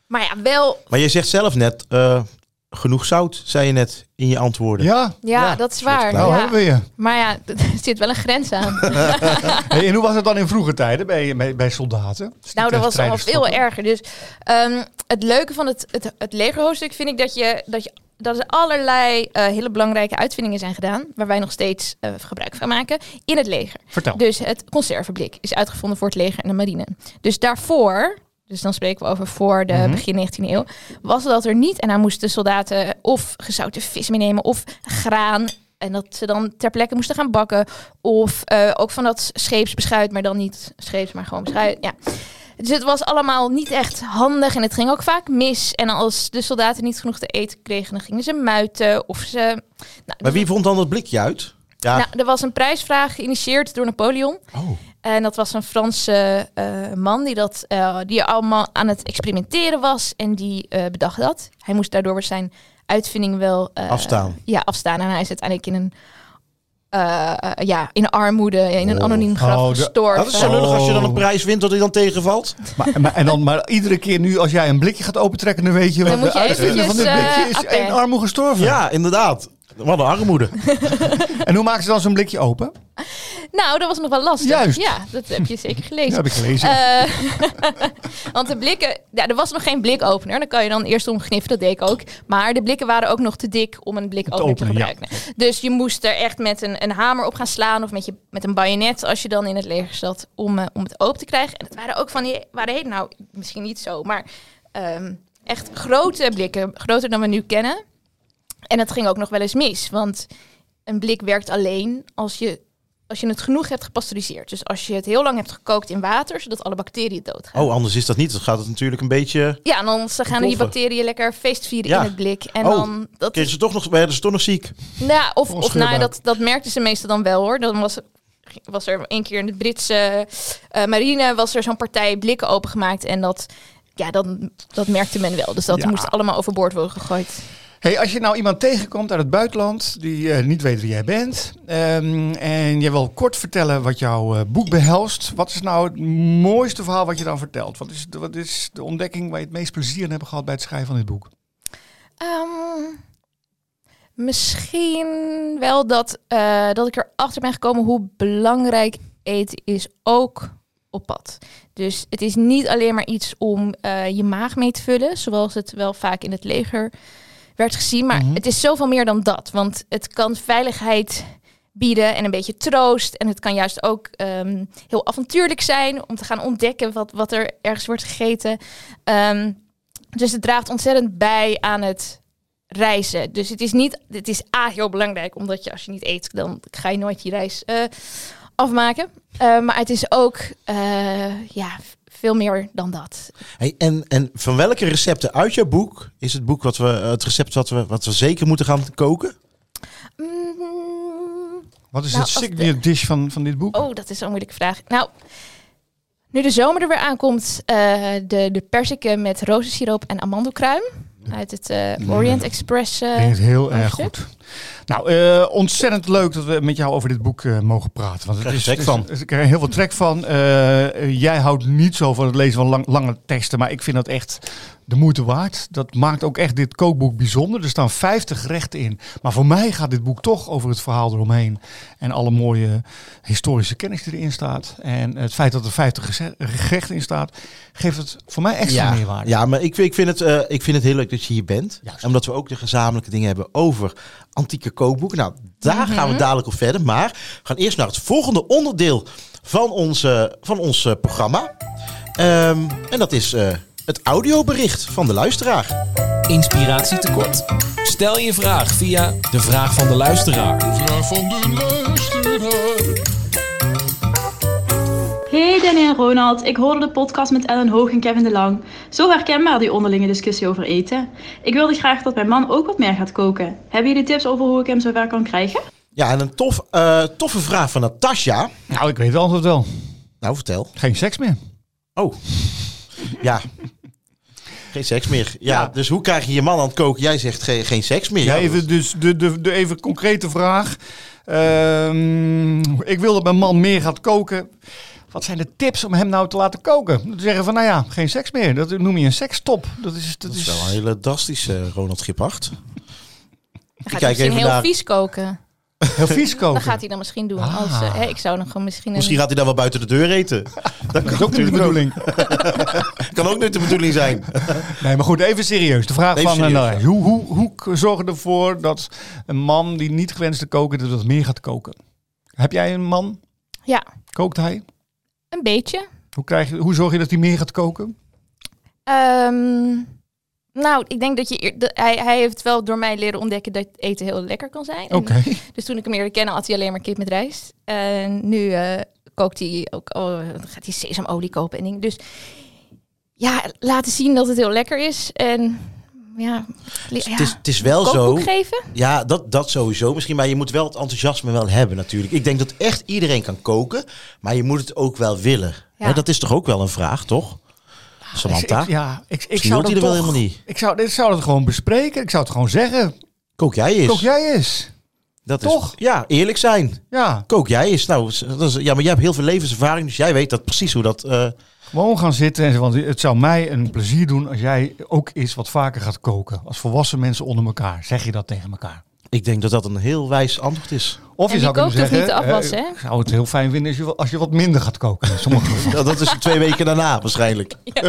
maar ja, wel, Maar je zegt zelf net, eh, genoeg zout, zei je net in je antwoorden. Ja, ja, dat is waar. nou ja. hebben we <laughs> je. Maar ja, er zit wel een grens aan. Hey, en hoe was het dan in vroege tijden bij, bij, bij soldaten? Nou, dat was al al veel erger. Dus ehm, het leuke van het, het, het legerhoofdstuk vind ik dat, je, dat, je, dat er allerlei eh, hele belangrijke uitvindingen zijn gedaan. Waar wij nog steeds eh, gebruik van maken in het leger. Vertel. Dus het conserveblik is uitgevonden voor het leger en de marine. Dus daarvoor, dus dan spreken we over voor de Mhm. begin 19e eeuw, was dat er niet. En daar moesten soldaten of gezouten vis meenemen of graan. En dat ze dan ter plekke moesten gaan bakken. Of eh, ook van dat scheepsbeschuit, maar dan niet scheeps, maar gewoon beschuit. Ja. Dus het was allemaal niet echt handig en het ging ook vaak mis. En als de soldaten niet genoeg te eten kregen, dan gingen ze muiten of ze... Nou, Maar wie vond dan dat blikje uit? Ja, nou, er was een prijsvraag geïnitieerd door Napoleon. Oh. En dat was een Franse eh, man die, dat, eh, die allemaal aan het experimenteren was. En die eh, bedacht dat. Hij moest daardoor zijn uitvinding wel... eh, Afstaan. Ja, afstaan. En hij is uiteindelijk in een... eh, eh, ja, in armoede, in een Oh. anoniem graf Oh, de- gestorven. dat is zo lullig als je dan Oh. een prijs wint dat hij dan tegenvalt. Maar, maar, en dan, maar iedere keer nu als jij een blikje gaat opentrekken, dan weet je Dan wat moet de je uitvinder van dit eventjes, blikje eh, is appé. één armoe gestorven. Ja, inderdaad. Wat een armoede. En hoe maken ze dan zo'n blikje open? Nou, dat was nog wel lastig. Juist. Ja, dat heb je zeker Dat gelezen. heb ik gelezen. Eh, <laughs> want de blikken, ja, er was nog geen blikopener. Dan kan je dan eerst om gniffen, dat deed ik ook. Maar de blikken waren ook nog te dik om een blikopener te, openen, ja. gebruiken. Dus je moest er echt met een, een hamer op gaan slaan of met, je, met een bajonet als je dan in het leger zat om, eh, om het open te krijgen. En het waren ook van die, waren heel, nou misschien niet zo, maar ehm, echt grote blikken, groter dan we nu kennen. En dat ging ook nog wel eens mis, want een blik werkt alleen als je, als je het genoeg hebt gepasteuriseerd. Dus als je het heel lang hebt gekookt in water, zodat alle bacteriën doodgaan. Oh, anders is dat niet. Dan gaat het natuurlijk een beetje... Ja, en dan ze gaan die Ontploffen. bacteriën lekker feest vieren Ja. in het blik. En Oh, dan, dat Kregen ze toch nog, werden ze toch nog ziek? Nou Ja, of, of nou, ja, Onscheurbaar. dat, dat merkten ze meestal dan wel hoor. Dan was, was er één keer in de Britse eh, marine was er zo'n partij blikken opengemaakt. En dat, ja, dan, dat merkte men wel. Dus dat Ja. moest allemaal overboord worden gegooid. Hey, als je nou iemand tegenkomt uit het buitenland die eh, niet weet wie jij bent ehm, en jij wil kort vertellen wat jouw eh, boek behelst, wat is nou het mooiste verhaal wat je dan vertelt? Wat is, de- wat is de ontdekking waar je het meest plezier in hebt gehad bij het schrijven van dit boek? Ehm, misschien wel dat, eh, dat ik erachter ben gekomen hoe belangrijk eten is ook op pad. Dus het is niet alleen maar iets om eh, je maag mee te vullen, zoals het wel vaak in het leger werd gezien. Maar Mhm. het is zoveel meer dan dat. Want het kan veiligheid bieden en een beetje troost. En het kan juist ook ehm, heel avontuurlijk zijn om te gaan ontdekken wat, wat er ergens wordt gegeten. Ehm, dus het draagt ontzettend bij aan het reizen. Dus het is niet, het is A heel belangrijk, omdat je als je niet eet, dan ga je nooit die reis eh, afmaken. Eh, maar het is ook eh, ja, veel meer dan dat. Hey, en, en van welke recepten uit jouw boek is het boek wat we, het recept wat we, wat we zeker moeten gaan koken? Mm. Wat is Nou, het als signature dish van, van dit boek? Oh, dat is zo'n moeilijke vraag. Nou, nu de zomer er weer aankomt, eh, de, de perziken met rozensiroop en amandelkruim. uit het eh, Orient Express. eh, Ik denk het heel erg hoofdstuk. goed. Nou, eh, ontzettend leuk dat we met jou over dit boek eh, mogen praten. Want het Krijg is, je trek van. het is- ik krijg er heel veel trek van. Eh, jij houdt niet zo van het lezen van lang- lange teksten. Maar ik vind dat echt de moeite waard. Dat maakt ook echt dit kookboek bijzonder. Er staan 50 rechten in. Maar voor mij gaat dit boek toch over het verhaal eromheen. En alle mooie historische kennis die erin staat. En het feit dat er 50 geze- gerechten in staat, geeft het voor mij extra ja, meerwaarde. Ja, maar ik, ik, vind het, eh, ik vind het heel leuk dat je hier bent. Juist. Omdat we ook de gezamenlijke dingen hebben over antieke kookboeken. Nou, daar Mhm. gaan we dadelijk op verder. Maar we gaan eerst naar het volgende onderdeel van, onze, van ons eh, programma. Ehm, en dat is eh, het audiobericht van de luisteraar. Inspiratie tekort. Stel je vraag via de vraag van de luisteraar. Hey Danny en Ronald, ik hoorde de podcast met Ellen Hoog en Kevin de Lang. Zo herkenbaar die onderlinge discussie over eten. Ik wilde graag dat mijn man ook wat meer gaat koken. Hebben jullie tips over hoe ik hem zover kan krijgen? Ja, en een tof, eh, toffe vraag van Natasja. Nou, ik weet het antwoord wel. Nou, vertel. Geen seks meer. Oh. <laughs> Ja. Geen seks meer. Ja, Ja. dus hoe krijg je je man aan het koken? Jij zegt geen, geen seks meer. Ja, Ja, even, dus de, de, de even concrete vraag. Ehm, ik wil dat mijn man meer gaat koken. Wat zijn de tips om hem nou te laten koken? Te zeggen van, nou ja, geen seks meer. Dat noem je een sekstop. Dat is, dat Dat is, is wel een hele drastische eh, Ronald Giphart. Dan gaat kijk hij misschien even heel naar- vies koken. heel vies koken. Dat gaat hij dan misschien doen. Ah. Als, eh, hè, ik zou dan gewoon misschien... een- Misschien gaat hij daar wel buiten de deur eten. Dat Dat kan is ook niet de bedoeling. ook. Kan ook niet de bedoeling zijn. Nee, maar goed, even serieus. De vraag Even van, eh, serieus, nou, hoe, hoe, hoe k- zorg je ervoor dat een man die niet gewenst te koken, dat dat meer gaat koken? Heb jij een man? Ja, Kookt hij? een beetje. Hoe, krijg je, hoe zorg je dat hij meer gaat koken? Ehm, nou, ik denk dat je... eer- dat- hij, hij heeft wel door mij leren ontdekken dat eten heel lekker kan zijn. En Oké. Dus toen ik hem leerde kennen, had hij alleen maar kip met rijst. En nu eh, kookt hij ook, oh, dan gaat hij sesamolie kopen en dingen. Dus ja, laten zien dat het heel lekker is. En ja, li- ja Dus Het, is, het is wel kookboek zo. geven. Ja, dat, dat sowieso misschien. Maar je moet wel het enthousiasme wel hebben natuurlijk. Ik denk dat echt iedereen kan koken. Maar je moet het ook wel willen. Ja. Hè, dat is toch ook wel een vraag, toch? Samantha, Ik, ja, ik, ik Misschien zou hoort dat hij er wel toch- helemaal niet. Ik zou, ik zou het gewoon bespreken. Ik zou het gewoon zeggen. kook jij eens. Kook jij eens. dat toch? Is, ja, eerlijk zijn. Ja, Kook jij eens. Nou, s- dat is, ja, maar jij hebt heel veel levenservaring. Dus jij weet dat precies hoe dat... eh, gewoon gaan zitten. En, zeggen, want het zou mij een plezier doen als jij ook eens wat vaker gaat koken. Als volwassen mensen onder elkaar. Zeg je dat tegen elkaar. ik denk dat dat een heel wijs antwoord is. Of En je wie zou kunnen kookt hoeft zeggen, niet te afwassen, eh, hè? ik zou het heel fijn vinden als je, wat- als je wat minder gaat koken. <laughs> In sommige gevallen. Ja, dat is twee weken daarna waarschijnlijk. <laughs>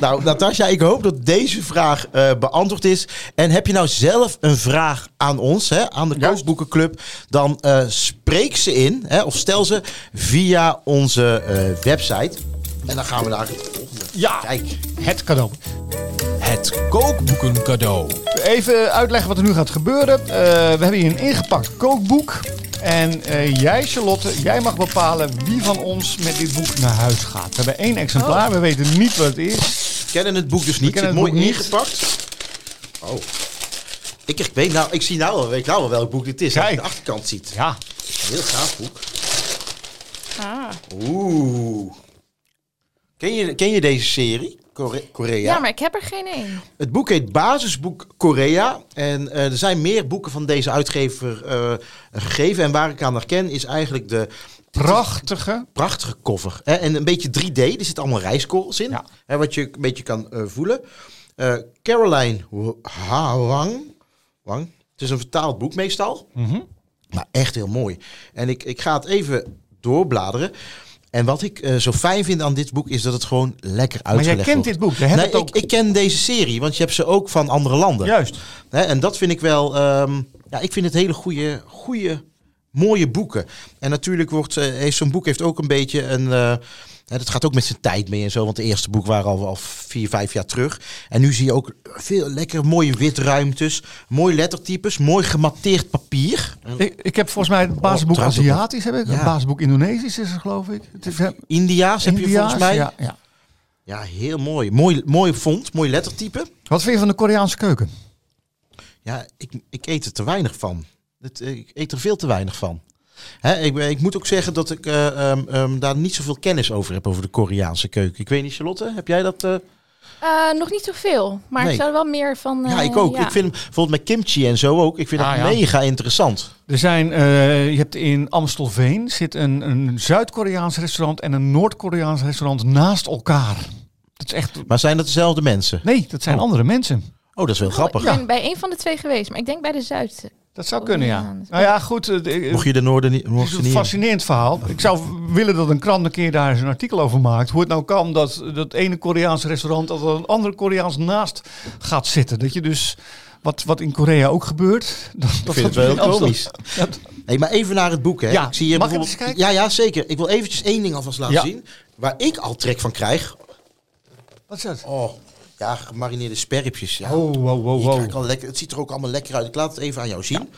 nou, Natasja, ik hoop dat deze vraag eh, beantwoord is. En heb je nou zelf een vraag aan ons, hè, aan de Juist. Kookboekenclub, dan eh, spreek ze in hè, of stel ze via onze eh, website. En dan gaan we naar het volgende. Ja, Kijk, het cadeau. Het kookboeken cadeau. Even uitleggen wat er nu gaat gebeuren. Eh, we hebben hier een ingepakt kookboek. En eh, jij, Charlotte, jij mag bepalen wie van ons met dit boek naar huis gaat. We hebben één Oh. exemplaar, we weten niet wat het is. we kennen het boek dus niet. kennen Zit het mooi boek niet. ingepakt. Oh. Ik, ik, weet nou, ik zie nou wel, weet nou wel welk boek dit is. Als je Kijk. de achterkant ziet. Ja, Heel gaaf boek. Oeh. Ken je, ken je deze serie? Kore- Korea. Ja. maar ik heb er geen één. Het boek heet Basisboek Korea. En eh, er zijn meer boeken van deze uitgever eh, gegeven. En waar ik aan herken is eigenlijk de prachtige. prachtige cover. Hè? En een beetje 3D. Er zitten allemaal rijskorrels in. Ja. Hè, wat je een beetje kan eh, voelen. Eh, Caroline Ho- Ha- Wang. Wang. Het is een vertaald boek meestal. Mhm. Maar echt heel mooi. En ik, ik ga het even doorbladeren. En wat ik eh, zo fijn vind aan dit boek is dat het gewoon lekker Maar uitgelegd jij kent wordt. dit boek, jij hebt Nee, het ook. ik, ik ken deze serie, want je hebt ze ook van andere landen. Juist. Hè, en dat vind ik wel. ehm, ja, ik vind het hele goede, goede, mooie boeken. En natuurlijk wordt, eh, heeft zo'n boek heeft ook een beetje een. eh, hè, dat gaat ook met zijn tijd mee en zo. Want de eerste boek waren al, al vier, vijf jaar terug. En nu zie je ook veel lekker mooie witruimtes. Mooi lettertypes. Mooi gematteerd papier. Ik, ik heb volgens mij het basisboek Oh, trouwens, Aziatisch, heb ik. Ja. Het basisboek Indonesisch is het, geloof ik. Het is, eh, India's heb je India's, volgens mij. Ja, Ja, ja. heel mooi. mooi. Mooi font. Mooi lettertype. Wat vind je van de Koreaanse keuken? Ja, ik, ik eet er te weinig van. Het, eh, ik eet er veel te weinig van. Hè, ik, ben- ik moet ook zeggen dat ik eh, ehm, ehm, daar niet zoveel kennis over heb, over de Koreaanse keuken. Ik weet niet, Charlotte, heb jij dat? eh, Eh, nog niet zoveel, maar Nee. ik zou er wel meer van... eh, ja, ik ook. Ik vind hem bijvoorbeeld met kimchi en zo ook. Ik vind Ah, dat ja. mega interessant. Er zijn, eh, je hebt in Amstelveen zit een, een Zuid-Koreaans restaurant en een Noord-Koreaans restaurant naast elkaar. Dat is echt. Maar zijn dat dezelfde mensen? Nee, dat zijn Oh. andere mensen. Oh, dat is wel grappig. Ik ben bij een van de twee geweest, maar ik denk bij de Zuid. Dat zou kunnen, ja. Koreaans. Nou ja, goed. eh, de- Mocht je de noorden niet... Het Mocht is je een niet fascinerend verhaal. Ik zou willen dat een krant een keer daar eens een artikel over maakt. Hoe het nou kan dat dat ene Koreaanse restaurant dat er een andere Koreaans naast gaat zitten. Dat je dus wat, wat in Korea ook gebeurt. <laughs> Dat, ik vind het wel heel komisch. Hey, maar even naar het boek, hè. Ja, ik zie hier mag ik bijvoorbeeld- eens kijken? Ja, ja, zeker. Ik wil eventjes één ding alvast laten Ja. zien. Waar ik al trek van krijg. Wat is dat? Oh, ja, gemarineerde sperripjes. Ja. Oh, wow, wow, Die krijg wow. ik al lekker, het ziet er ook allemaal lekker uit. Ik laat het even aan jou zien.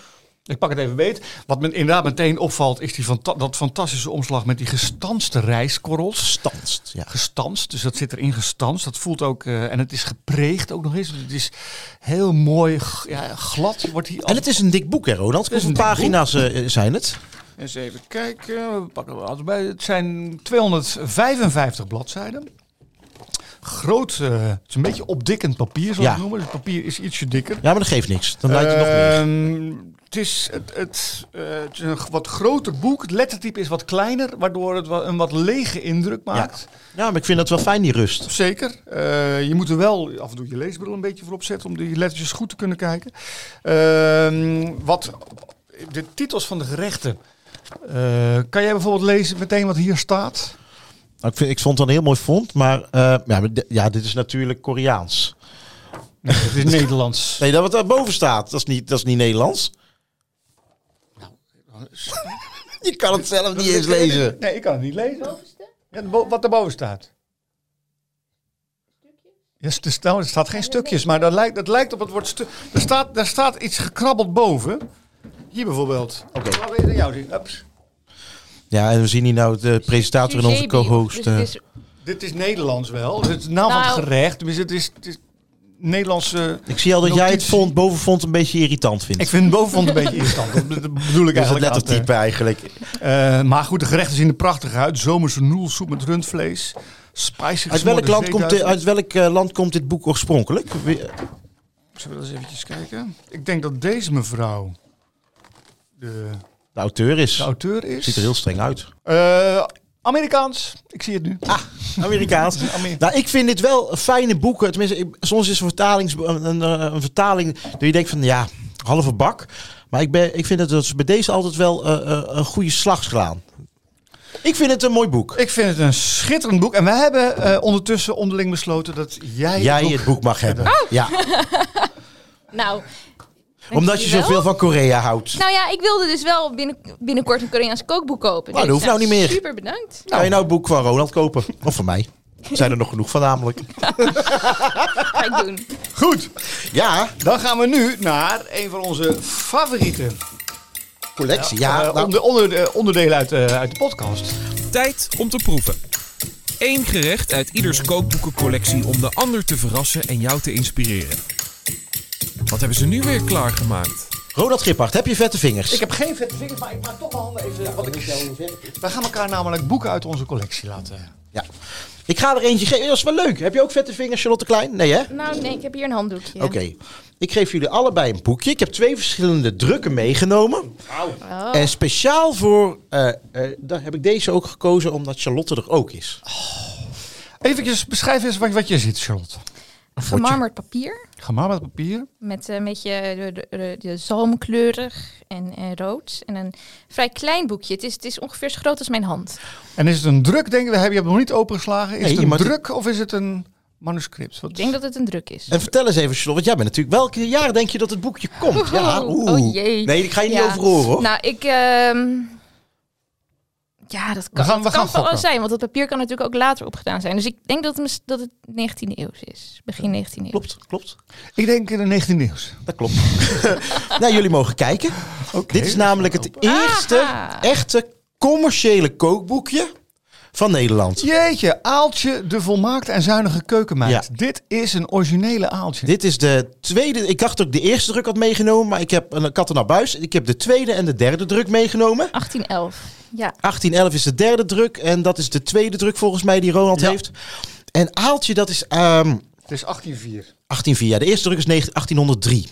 Ik pak het even beet. Wat me inderdaad meteen opvalt is die fanta- dat fantastische omslag met die gestanste rijskorrels. Gestanst, ja. gestanst. Dus dat zit erin gestanst. Dat voelt ook. eh, en het is gepreegd ook nog eens. Dus Het is heel mooi g- ja, glad. Wordt hier En het is een dik boek, hè, Ronald? is Hoeveel een dik pagina's eh, zijn het? Eens even kijken. We pakken er altijd bij. Het zijn 255 bladzijden. Groot. eh, het is een beetje opdikkend papier, zoals Ja. we het noemen. Dus het papier is ietsje dikker. Ja, maar dat geeft niks. Dan lijkt het nog meer. Ehm, het is, het, het, eh, het is een g- wat groter boek. Het lettertype is wat kleiner, waardoor het wa- een wat lege indruk maakt. Ja, maar ik vind dat wel fijn, die rust. Zeker. Eh, je moet er wel af en toe je leesbril een beetje voor opzetten om die lettertjes goed te kunnen kijken. Ehm, wat de titels van de gerechten. Eh, kan jij bijvoorbeeld lezen meteen wat hier staat? Nou, ik, vind, ik vond het een heel mooi fond, maar eh, ja, maar di- ja, dit is natuurlijk Koreaans. Nee, het is Nederlands. Nee, dat wat daarboven staat, dat is niet, dat is niet Nederlands. <laughs> Je kan het zelf <laughs> niet eens lezen. Nee, ik kan het niet lezen. Ja, de bo- wat erboven staat. Ja, st- nou, er staat geen stukjes, maar dat lijkt, dat lijkt op het woord stu- Er staat, daar staat iets gekrabbeld boven. Hier bijvoorbeeld. Oké. Laat ik het aan jou zien. Ups. Ja, en we zien hier nou de presentator en onze Sujebi, of- co-host. dus het eh, is- Dit is Nederlands wel. Het is de naam van Nou. het gerecht. Dus het is, het is Nederlandse... ik zie al dat jij het notitie. fond, bovenfond een beetje irritant vindt. Ik vind het bovenvond een beetje irritant. Dat bedoel ik dat is het eigenlijk aan het, eh, lettertype eigenlijk. Eh, maar goed, de gerechten zien er prachtig uit. Zomerse noelsoep met rundvlees. Spicy Uit welk, gesmoorde land komt, dit- zeeduiven. uit welk eh, land komt dit boek oorspronkelijk? Wie- Zullen we dat eens eventjes kijken? Ik denk dat deze mevrouw de, De auteur is. de auteur is. Ziet er heel streng uit. Eh, Amerikaans. Ik zie het nu. Ah. Amerikaans. Amer- Nou, ik vind dit wel fijne boeken. Tenminste, ik- soms is een, vertalings, een, een, eh, een vertaling dat je denkt van ja, halve bak. Maar ik, ben, ik vind dat ze bij deze altijd wel eh, eh, een goede slag slaan. Ik vind het een mooi boek. Ik vind het een schitterend boek. En we hebben eh, ondertussen onderling besloten dat jij, Jij het boek Oh. het boek mag hebben. Ja, Nou, omdat je dankjewel. zoveel van Korea houdt. Nou ja, ik wilde dus wel binnen, binnenkort een Koreaans kookboek kopen. Dus, Nou, dat hoeft nou niet meer. Super bedankt. Kan je nou het boek van Ronald kopen? Of van mij? Er Zijn er nog genoeg van namelijk? Ga ik doen. Goed, Ja, dan gaan we nu naar een van onze favoriete collectie. Ja, eh, nou, onder, onder, eh, onderdelen uit, eh, uit de podcast. Tijd om te proeven. Eén gerecht uit ieders kookboekencollectie om de ander te verrassen en jou te inspireren. Wat hebben ze nu weer klaargemaakt? Ronald Gippard, heb je vette vingers? Ik heb geen vette vingers, maar ik maak toch mijn handen even. Wat ik... Wij gaan elkaar namelijk boeken uit onze collectie laten. Ja. Ik ga er eentje geven. Dat is wel leuk. Heb je ook vette vingers, Charlotte Klein? Nee, hè? <laughs> Nou nee, ik heb hier een handdoekje. Oké, ik geef jullie allebei een boekje. Ik heb twee verschillende drukken meegenomen. Oh. En speciaal voor, eh, eh, daar heb ik deze ook gekozen omdat Charlotte er ook is. Even beschrijf eens wat, wat je ziet, Charlotte. Gemarmerd papier Ga maar met papier. met eh, een beetje de, de, de, de zalmkleurig en, eh, rood. En een vrij klein boekje. Het is, het is ongeveer zo groot als mijn hand. En is het een druk, denk ik? Heb je hebt het nog niet opengeslagen? Is Nee, het je een moet- druk of is het een manuscript? Wat... Ik denk dat het een druk is. En vertel eens even, Charlotte, want jij bent natuurlijk. Welke jaar denk je dat het boekje komt? Ja, oeh. Oh jee. Nee, ik ga je niet Ja. over horen hoor. Nou, ik... ehm, ja, dat kan, gaan- we dat gaan kan van gokken. alles zijn. Want dat papier kan natuurlijk ook later opgedaan zijn. Dus ik denk dat het, mis- dat het 19e eeuw is. Begin 19e eeuw. Klopt, klopt. Ik denk in de 19e eeuw. Dat klopt. nou, jullie mogen kijken. Dit is namelijk het eerste Aha. echte commerciële kookboekje van Nederland. Jeetje, Aaltje, de volmaakte en zuinige keukenmeid. Ja. Dit is een originele Aaltje. Dit is de tweede. Ik dacht dat ik de eerste druk had meegenomen, maar ik heb een kat en naar buis. Ik heb de tweede en de derde druk meegenomen. 1811. Ja. 1811 is de derde druk en dat is de tweede druk volgens mij die Ronald Ja. heeft. En Aaltje, dat is ehm, Het is 1804. 1804. Ja, de eerste druk is 19- 1803.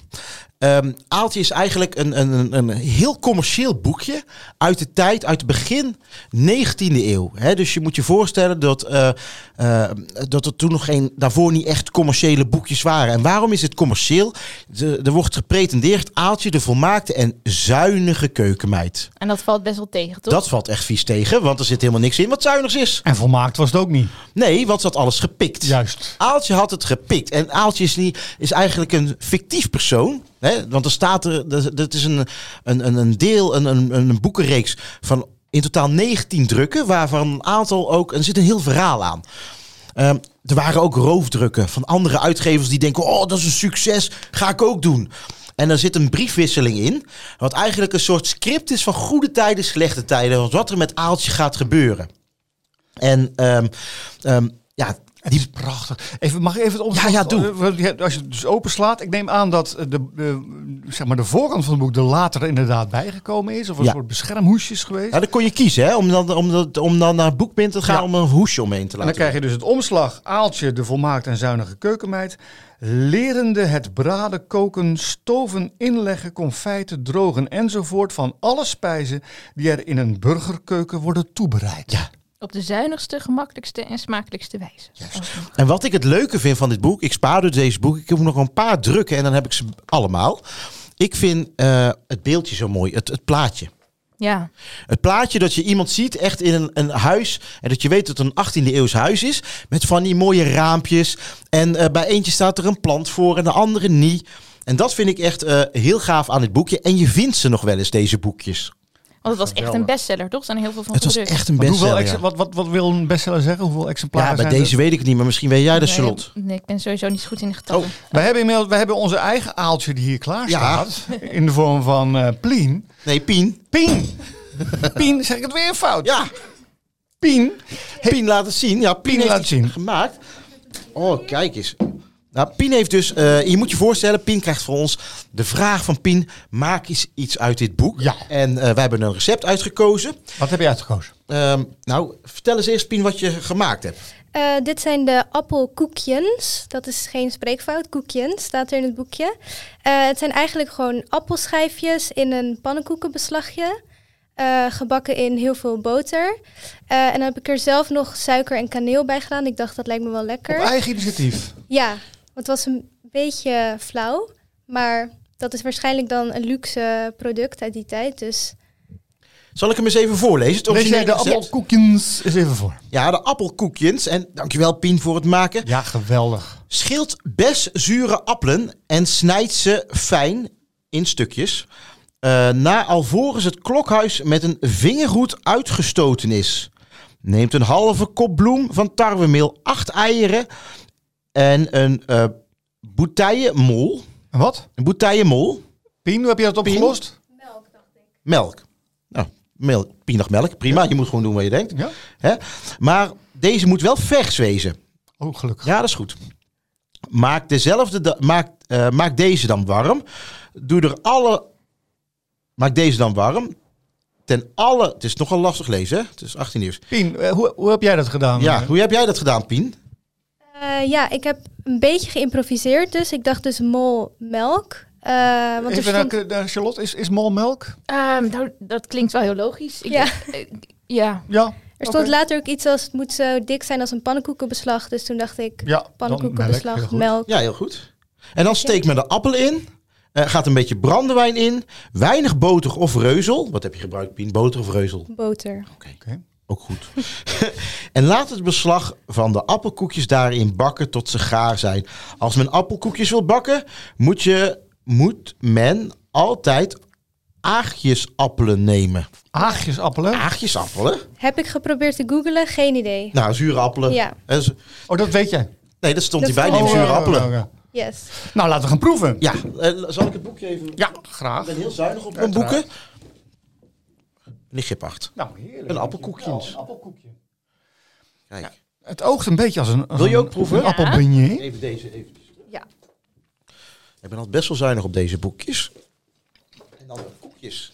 Ehm Aaltje is eigenlijk een, een, een- een heel commercieel boekje uit de tijd, uit het begin 19e eeuw. Hè, dus je moet je voorstellen dat, eh, eh, dat er toen nog geen, daarvoor niet echt commerciële boekjes waren. En waarom is het commercieel? De- er wordt gepretendeerd Aaltje de volmaakte en zuinige keukenmeid. En dat valt best wel tegen, toch? Dat valt echt vies tegen, want er zit helemaal niks in wat zuinigs is. En volmaakt was het ook niet. Nee, want ze had alles gepikt. Juist. Aaltje had het gepikt. En Aaltje is, niet, is eigenlijk een fictief persoon. Hè? Want er staat er, dat- dat is een, een, een- een deel, een, een, een boekenreeks van in totaal 19 drukken, waarvan een aantal ook, en er zit een heel verhaal aan. Ehm, er waren ook roofdrukken van andere uitgevers die denken: oh, dat is een succes, ga ik ook doen. En er zit een briefwisseling in, wat eigenlijk een soort script is van goede tijden, slechte tijden, want wat er met Aaltje gaat gebeuren. En ehm, ehm, ja, die, Prachtig. Even, mag ik even het omslag? Ja, ja, doe. Eh, want je- Als je het dus openslaat, ik neem aan dat eh, de, eh, zeg maar de voorkant van het boek er later inderdaad bijgekomen is. Of een Ja. soort beschermhoesje is geweest. Ja, dan kon je kiezen, hè? Om dan, om, dat- om dan naar Boekbind te gaan Ja. om een hoesje omheen te En dan laten. krijg je dus het omslag, aaltje, de volmaakt en zuinige keukenmeid. Lerende het braden, koken, stoven, inleggen, confijten, drogen enzovoort van alle spijzen die er in een burgerkeuken worden toebereid. Ja. Op de zuinigste, gemakkelijkste en smakelijkste wijze. Oh. En wat ik het leuke vind van dit boek, ik spaar dus deze boek. Ik heb nog een paar drukken en dan heb ik ze allemaal. Ik vind eh, het beeldje zo mooi, het, het plaatje. Ja, Het plaatje dat je iemand ziet echt in een, een huis. En dat je weet dat het een 18e eeuws huis is. Met van die mooie raampjes. En eh, bij eentje staat er een plant voor en de andere niet. En dat vind ik echt eh, heel gaaf aan dit boekje. En je vindt ze nog wel eens, deze boekjes. want het was echt een Geweldig. bestseller, toch? Er zijn heel veel van Het was gedrukt. echt een Maar hoeveel bestseller. ex- wat, ja. wat, wat wil een bestseller zeggen? Hoeveel exemplaren Ja, bij zijn er? deze weet ik het niet, maar misschien weet jij dat, Nee, Charlotte. Nee, ik ben sowieso niet goed in de Oh, getallen. We hebben, inmiddels, we hebben onze eigen aaltje die hier klaar Ja. staat. In de vorm van eh, Plien. Nee, Pien. Pien! Pien, zeg ik het weer fout? Ja, Pien. Pien laat het zien. Ja, Pien, heeft laat iets zien. gemaakt. Oh, kijk eens. Nou, Pien heeft dus, eh, je moet je voorstellen, Pien krijgt voor ons de vraag van Pien, maak eens iets uit dit boek. Ja. En eh, wij hebben een recept uitgekozen. Wat heb je uitgekozen? Ehm, nou, vertel eens eerst Pien wat je gemaakt hebt. Eh, dit zijn de appelkoekjes. Dat is geen spreekfout. Koekjes staat er in het boekje. Eh, het zijn eigenlijk gewoon appelschijfjes in een pannenkoekenbeslagje. eh, gebakken in heel veel boter. Eh, en dan heb ik er zelf nog suiker en kaneel bij gedaan. Ik dacht dat lijkt me wel Op lekker. eigen initiatief. Ja, want het was een beetje flauw. Maar dat is waarschijnlijk dan een luxe product uit die tijd. Dus Zal ik hem eens even voorlezen? Het Lees jij de originele recept? appelkoekjes eens even voor. Ja, de appelkoekjes. En dankjewel Pien voor het maken. Ja, geweldig. Schilt best zure appelen en snijd ze fijn in stukjes. eh na alvorens het klokhuis met een vingerhoed uitgestoten is. Neemt een halve kop bloem van tarwemeel, acht eieren en een eh bouteillemol. En wat? Een bouteillemol, Pien, hoe heb je dat opgelost? melk. Nou, melk, pinagmelk, prima. Je moet gewoon doen wat je denkt. Ja? Hè? Maar deze moet wel vers wezen. Oh, gelukkig. Ja, dat is goed. Maak, dezelfde da- maak, eh, maak deze dan warm. Doe er alle. Maak deze dan warm. Ten alle. Het is nogal lastig lezen, hè? Het is 18 nieuws. Pien, eh, hoe, hoe heb jij dat gedaan? Ja, Eh, hoe heb jij dat gedaan, Pien? Eh, ja, ik heb een beetje geïmproviseerd. Dus ik dacht dus mol melk. Eh, want er Even stond... naar, naar Charlotte, is, is mol melk? Ehm, nou, dat klinkt wel heel logisch. Ik Ja. denk- eh, ja, Ja. Er stond Oké. later ook iets als het moet zo dik zijn als een pannenkoekenbeslag. Dus toen dacht ik, Ja, dan melk, pannenkoekenbeslag, heel melk. Ja, heel goed. En dan steek men de appel in. Eh, gaat een beetje brandewijn in. Weinig boter of reuzel. Wat heb je gebruikt, Pien? Boter of reuzel? Boter. goed. Oké. Ook goed. <laughs> en laat het beslag van de appelkoekjes daarin bakken tot ze gaar zijn. Als men appelkoekjes wil bakken, moet, je, moet men altijd aagjesappelen nemen. Aagjesappelen. Aagjesappelen? Heb ik geprobeerd te googlen? Geen idee. Nou, zure appelen. Ja. Eh, z- Oh, dat weet jij. Nee, dat stond Dat hierbij. stond Neem zure hier. appelen. Oh, oké. Yes. Nou, laten we gaan proeven. Ja, eh, zal ik het boekje even... Ja, graag. Ik ben heel zuinig op mijn boeken. Uiteraard. Lichtgrip 8. Nou, heerlijk. Een appelkoekje. Ja, een appelkoekje. Kijk, Het oogt een beetje als een, als Wil je een- ook proeven? een appelbeignet. even deze eventjes. Ja. Ik ben altijd best wel zuinig op deze boekjes. En dan de koekjes.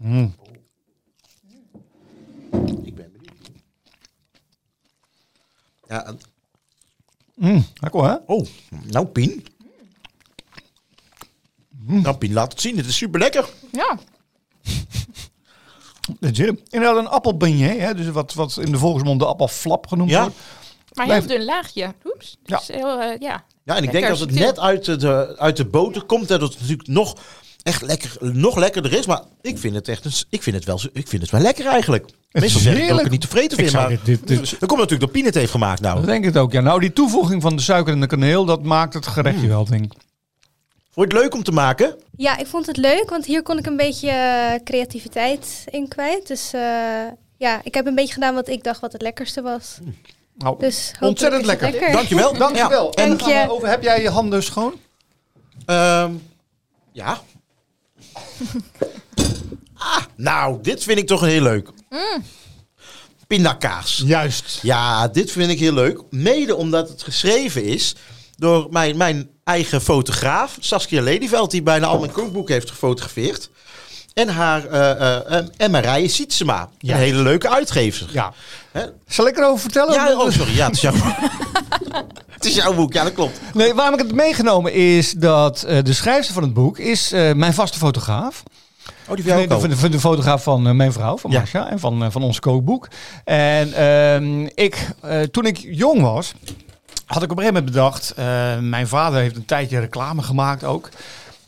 Oh. Mm. Ik ben benieuwd. Ja, en- Mm, lekker hè? Oh, nou Pien. Nou Pien, laat het zien. Het is super lekker. Ja. Dat zit hem. Inderdaad, een appelbeignet, hè? Dus wat, wat in de volksmond de appelflap genoemd Ja. wordt. Maar heel Blijf- dun laagje. Oeps. Ja. Dus heel, eh, ja. Ja, en ik Lekker denk als het subtiel. net uit de, uit de boter komt, dat het natuurlijk nog echt lekker, nog lekkerder is. Maar ik vind het echt, een s- ik vind het wel, zo- ik vind het wel lekker eigenlijk. Meestal is zeg ik dat ik heerlijk. het niet tevreden Ik vind, zou maar dit- dit- dit- dat komt natuurlijk door Pien het heeft gemaakt nou. Dat denk ik ook, ja. Nou, die toevoeging van de suiker en de kaneel, dat maakt het gerechtje Mm. wel, denk ik. Vond je het leuk om te maken? Ja, ik vond het leuk, want hier kon ik een beetje eh, creativiteit in kwijt. Dus eh, ja, ik heb een beetje gedaan wat ik dacht wat het lekkerste was. Nou, Dus hopelijk Ontzettend is het lekker. Dankjewel. dankjewel. Ja. En Dank dan gaan je. we over, heb jij je handen schoon? Ehm, <laughs> ja. ah, nou, dit vind ik toch heel leuk. Pindakaas. Juist. Ja, dit vind ik heel leuk. Mede omdat het geschreven is door mijn, mijn eigen fotograaf, Saskia Lelyveld, die bijna al mijn kookboeken heeft gefotografeerd. En haar eh, eh, eh, en Marije Sietsema. Ja. Een hele leuke uitgever. Ja. Hè? Zal ik erover vertellen? Ja, oh, sorry. Ja, het is jouw <laughs> Het is jouw boek. Ja, dat klopt. Nee, waarom ik het meegenomen is dat eh, de schrijfster van het boek is eh, mijn vaste fotograaf. Oh, die Nee, de, de, de fotograaf van eh, mijn vrouw, van Ja. Marcia en van, eh, van ons kookboek. En ehm, ik, eh, toen ik jong was, had ik op een gegeven moment bedacht... eh, mijn vader heeft een tijdje reclame gemaakt ook.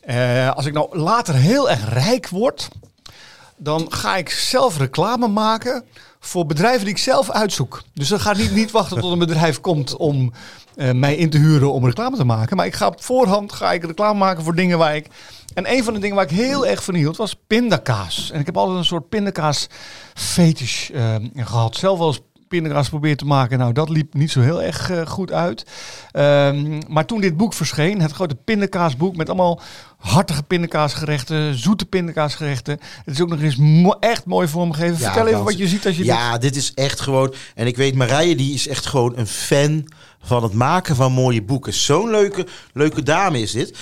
Eh, als ik nou later heel erg rijk word... dan ga ik zelf reclame maken voor bedrijven die ik zelf uitzoek. Dus dan ga ik niet, niet wachten tot een bedrijf komt om eh, mij in te huren om reclame te maken. Maar ik ga op voorhand ga ik reclame maken voor dingen waar ik... En een van de dingen waar ik heel erg van hield was pindakaas. En ik heb altijd een soort pindakaas fetish eh, gehad. Zelf wel eens pindakaas probeerd te maken. Nou, dat liep niet zo heel erg eh, goed uit. Ehm, maar toen dit boek verscheen, het grote pindakaasboek met allemaal hartige pindakaasgerechten, zoete pindakaasgerechten. Het is ook nog eens mo- echt mooi vormgegeven. Ja, Vertel even want- wat je ziet als je dit... Ja, dit is echt gewoon. En ik weet, Marije die is echt gewoon een fan van het maken van mooie boeken. Zo'n leuke, leuke dame is dit.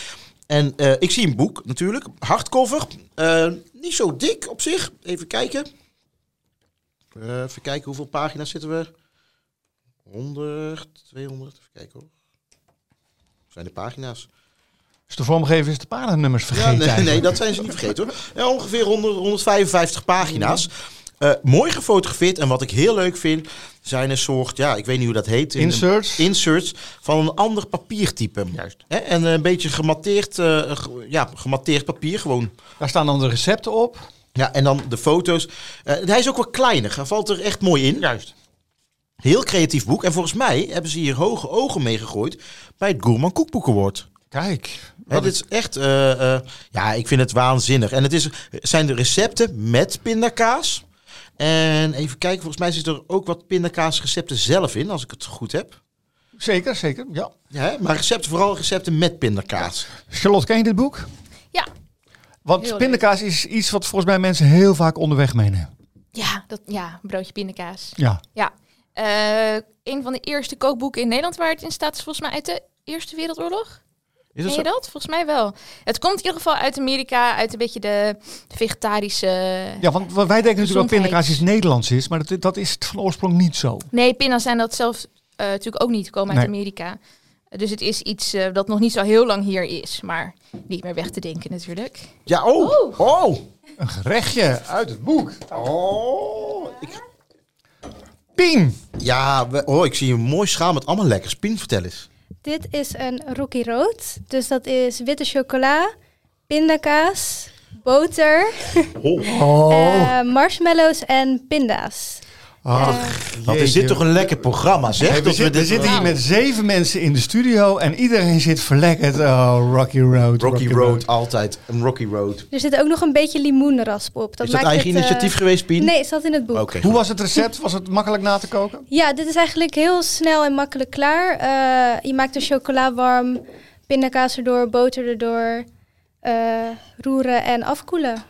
En eh, ik zie een boek natuurlijk, hardcover. Eh, niet zo dik op zich. Even kijken. Eh, even kijken hoeveel pagina's zitten we. 100, 200. Even kijken hoor. Wat Zijn de pagina's? Dus de vormgeving is de paginanummers vergeten. Ja, nee, eigenlijk. nee, dat zijn ze niet vergeten hoor. Ja, ongeveer 100, 155 pagina's. Eh, mooi gefotografeerd. En wat ik heel leuk vind, zijn een soort, ja, ik weet niet hoe dat heet. in- Inserts. Inserts van een ander papiertype. Juist. Hè, en een beetje gematteerd, eh, ge- ja, gematteerd papier gewoon. Daar staan dan de recepten op. Ja, en dan de foto's. Eh, hij is ook wat kleiner. Hij valt er echt mooi in. Juist. Heel creatief boek. En volgens mij hebben ze hier hoge ogen mee gegooid bij het Gourmand Kookboek Award. Kijk. Hè, Wat dit is echt, eh, eh, ja, ik vind het waanzinnig. En het is, zijn de recepten met pindakaas. En even kijken, volgens mij zitten er ook wat pindakaasrecepten zelf in, als ik het goed heb. ik- Zeker, zeker. Ja. Ja, hè, maar recepten, vooral recepten met pindakaas. Charlotte, ken je dit boek? Ja. Want Heel leuk. pindakaas is iets wat volgens mij mensen heel vaak onderweg meenemen. Ja, dat, ja, broodje pindakaas. Ja. Ja. Eh, een van de eerste kookboeken in Nederland waar het in staat is volgens mij uit de Eerste Wereldoorlog. Is Ken dat je zo? dat? Volgens mij wel. Het komt in ieder geval uit Amerika, uit een beetje de vegetarische... ja, want wij denken natuurlijk dat Gezondheid. pindakaas iets Nederlands is, maar dat, dat is het van oorsprong niet zo. Nee, pinda's zijn dat zelf eh, natuurlijk ook niet, komen uit Nee. Amerika. Dus het is iets eh, dat nog niet zo heel lang hier is, maar niet meer weg te denken natuurlijk. Ja, oh, oh. Een gerechtje uit het boek. Oh, ik, Pien! ja, we- oh, ik zie een mooi schaal met allemaal lekkers. Pien, vertel eens. Dit is een Rocky Rood. Dus dat is witte chocola, pindakaas, <laughs> boter, Oh. eh, marshmallows en pinda's. Ach, Wat is jeetje. dit toch een lekker programma, zeg? Hey, we, dat we zitten- we dit- nou? zitten hier met zeven mensen in de studio en iedereen zit verlekkerd. Oh, Rocky Road. Rocky Road, altijd een Rocky Road. Er zit ook nog een beetje limoenrasp op. Dat is dat maakt eigen het, eh, initiatief geweest, Pien? Nee, het zat in het boek. Oké. Hoe was het recept? Was het makkelijk na te koken? Ja, dit is eigenlijk heel snel en makkelijk klaar. Eh, je maakt de chocola warm, pindakaas erdoor, boter erdoor, eh, roeren en afkoelen.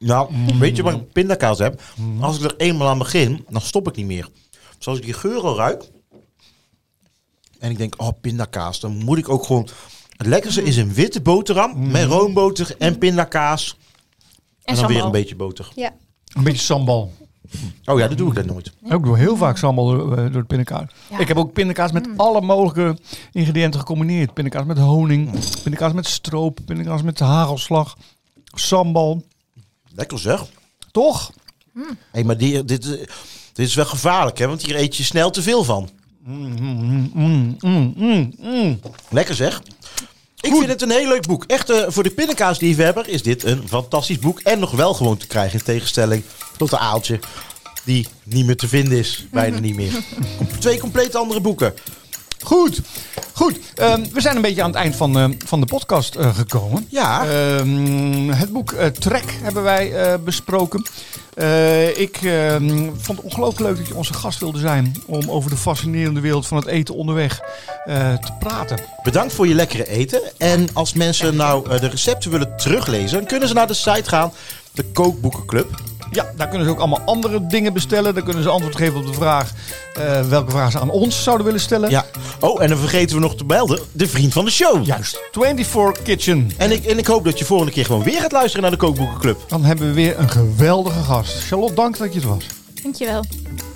Nou, Mm. weet je waar ik pindakaas heb? Als ik er eenmaal aan begin, dan stop ik niet meer. Dus als ik die geur al ruik en ik denk, oh, pindakaas, dan moet ik ook gewoon... Het lekkerste is een witte boterham met roomboter en pindakaas. En, Mm. dan En, weer sambal. een beetje boter. Ja. Een beetje sambal. Oh ja, dat doe ik dat nooit. Ook door heel vaak sambal eh, door de pindakaas. Ja. Ik heb ook pindakaas met alle mogelijke ingrediënten gecombineerd. Pindakaas met honing, pindakaas met stroop, pindakaas met hagelslag, sambal. Lekker zeg. Toch? Hé, maar die, dit, eh, dit is wel gevaarlijk, hè? Want hier eet je snel te veel van. Mm, mm, mm, mm, mm. Lekker zeg. Ik vind het een heel leuk boek. Echt, eh, voor de pindakaasliefhebber is dit een fantastisch boek. En nog wel gewoon te krijgen, in tegenstelling tot de aaltje. Die niet meer te vinden is. Mhm. Bijna niet meer. Twee compleet andere boeken. Goed, goed. Ehm, we zijn een beetje aan het eind van, eh, van de podcast eh, gekomen. Ja. Ehm, het boek eh, Trek hebben wij eh, besproken. Eh, ik ehm, vond het ongelooflijk leuk dat je onze gast wilde zijn om over de fascinerende wereld van het eten onderweg eh, te praten. Bedankt voor je lekkere eten. En als mensen nou eh, de recepten willen teruglezen, dan kunnen ze naar de site gaan. De Kookboekenclub. Ja, daar kunnen ze ook allemaal andere dingen bestellen. Daar kunnen ze antwoord geven op de vraag eh, welke vraag ze aan ons zouden willen stellen. Ja. Oh, en dan vergeten we nog te melden. De vriend van de show. Juist. 24 Kitchen. En ik, en ik hoop dat je volgende keer gewoon weer gaat luisteren naar de Kookboekenclub. Dan hebben we weer een geweldige gast. Charlotte, dank dat je het was. Dankjewel.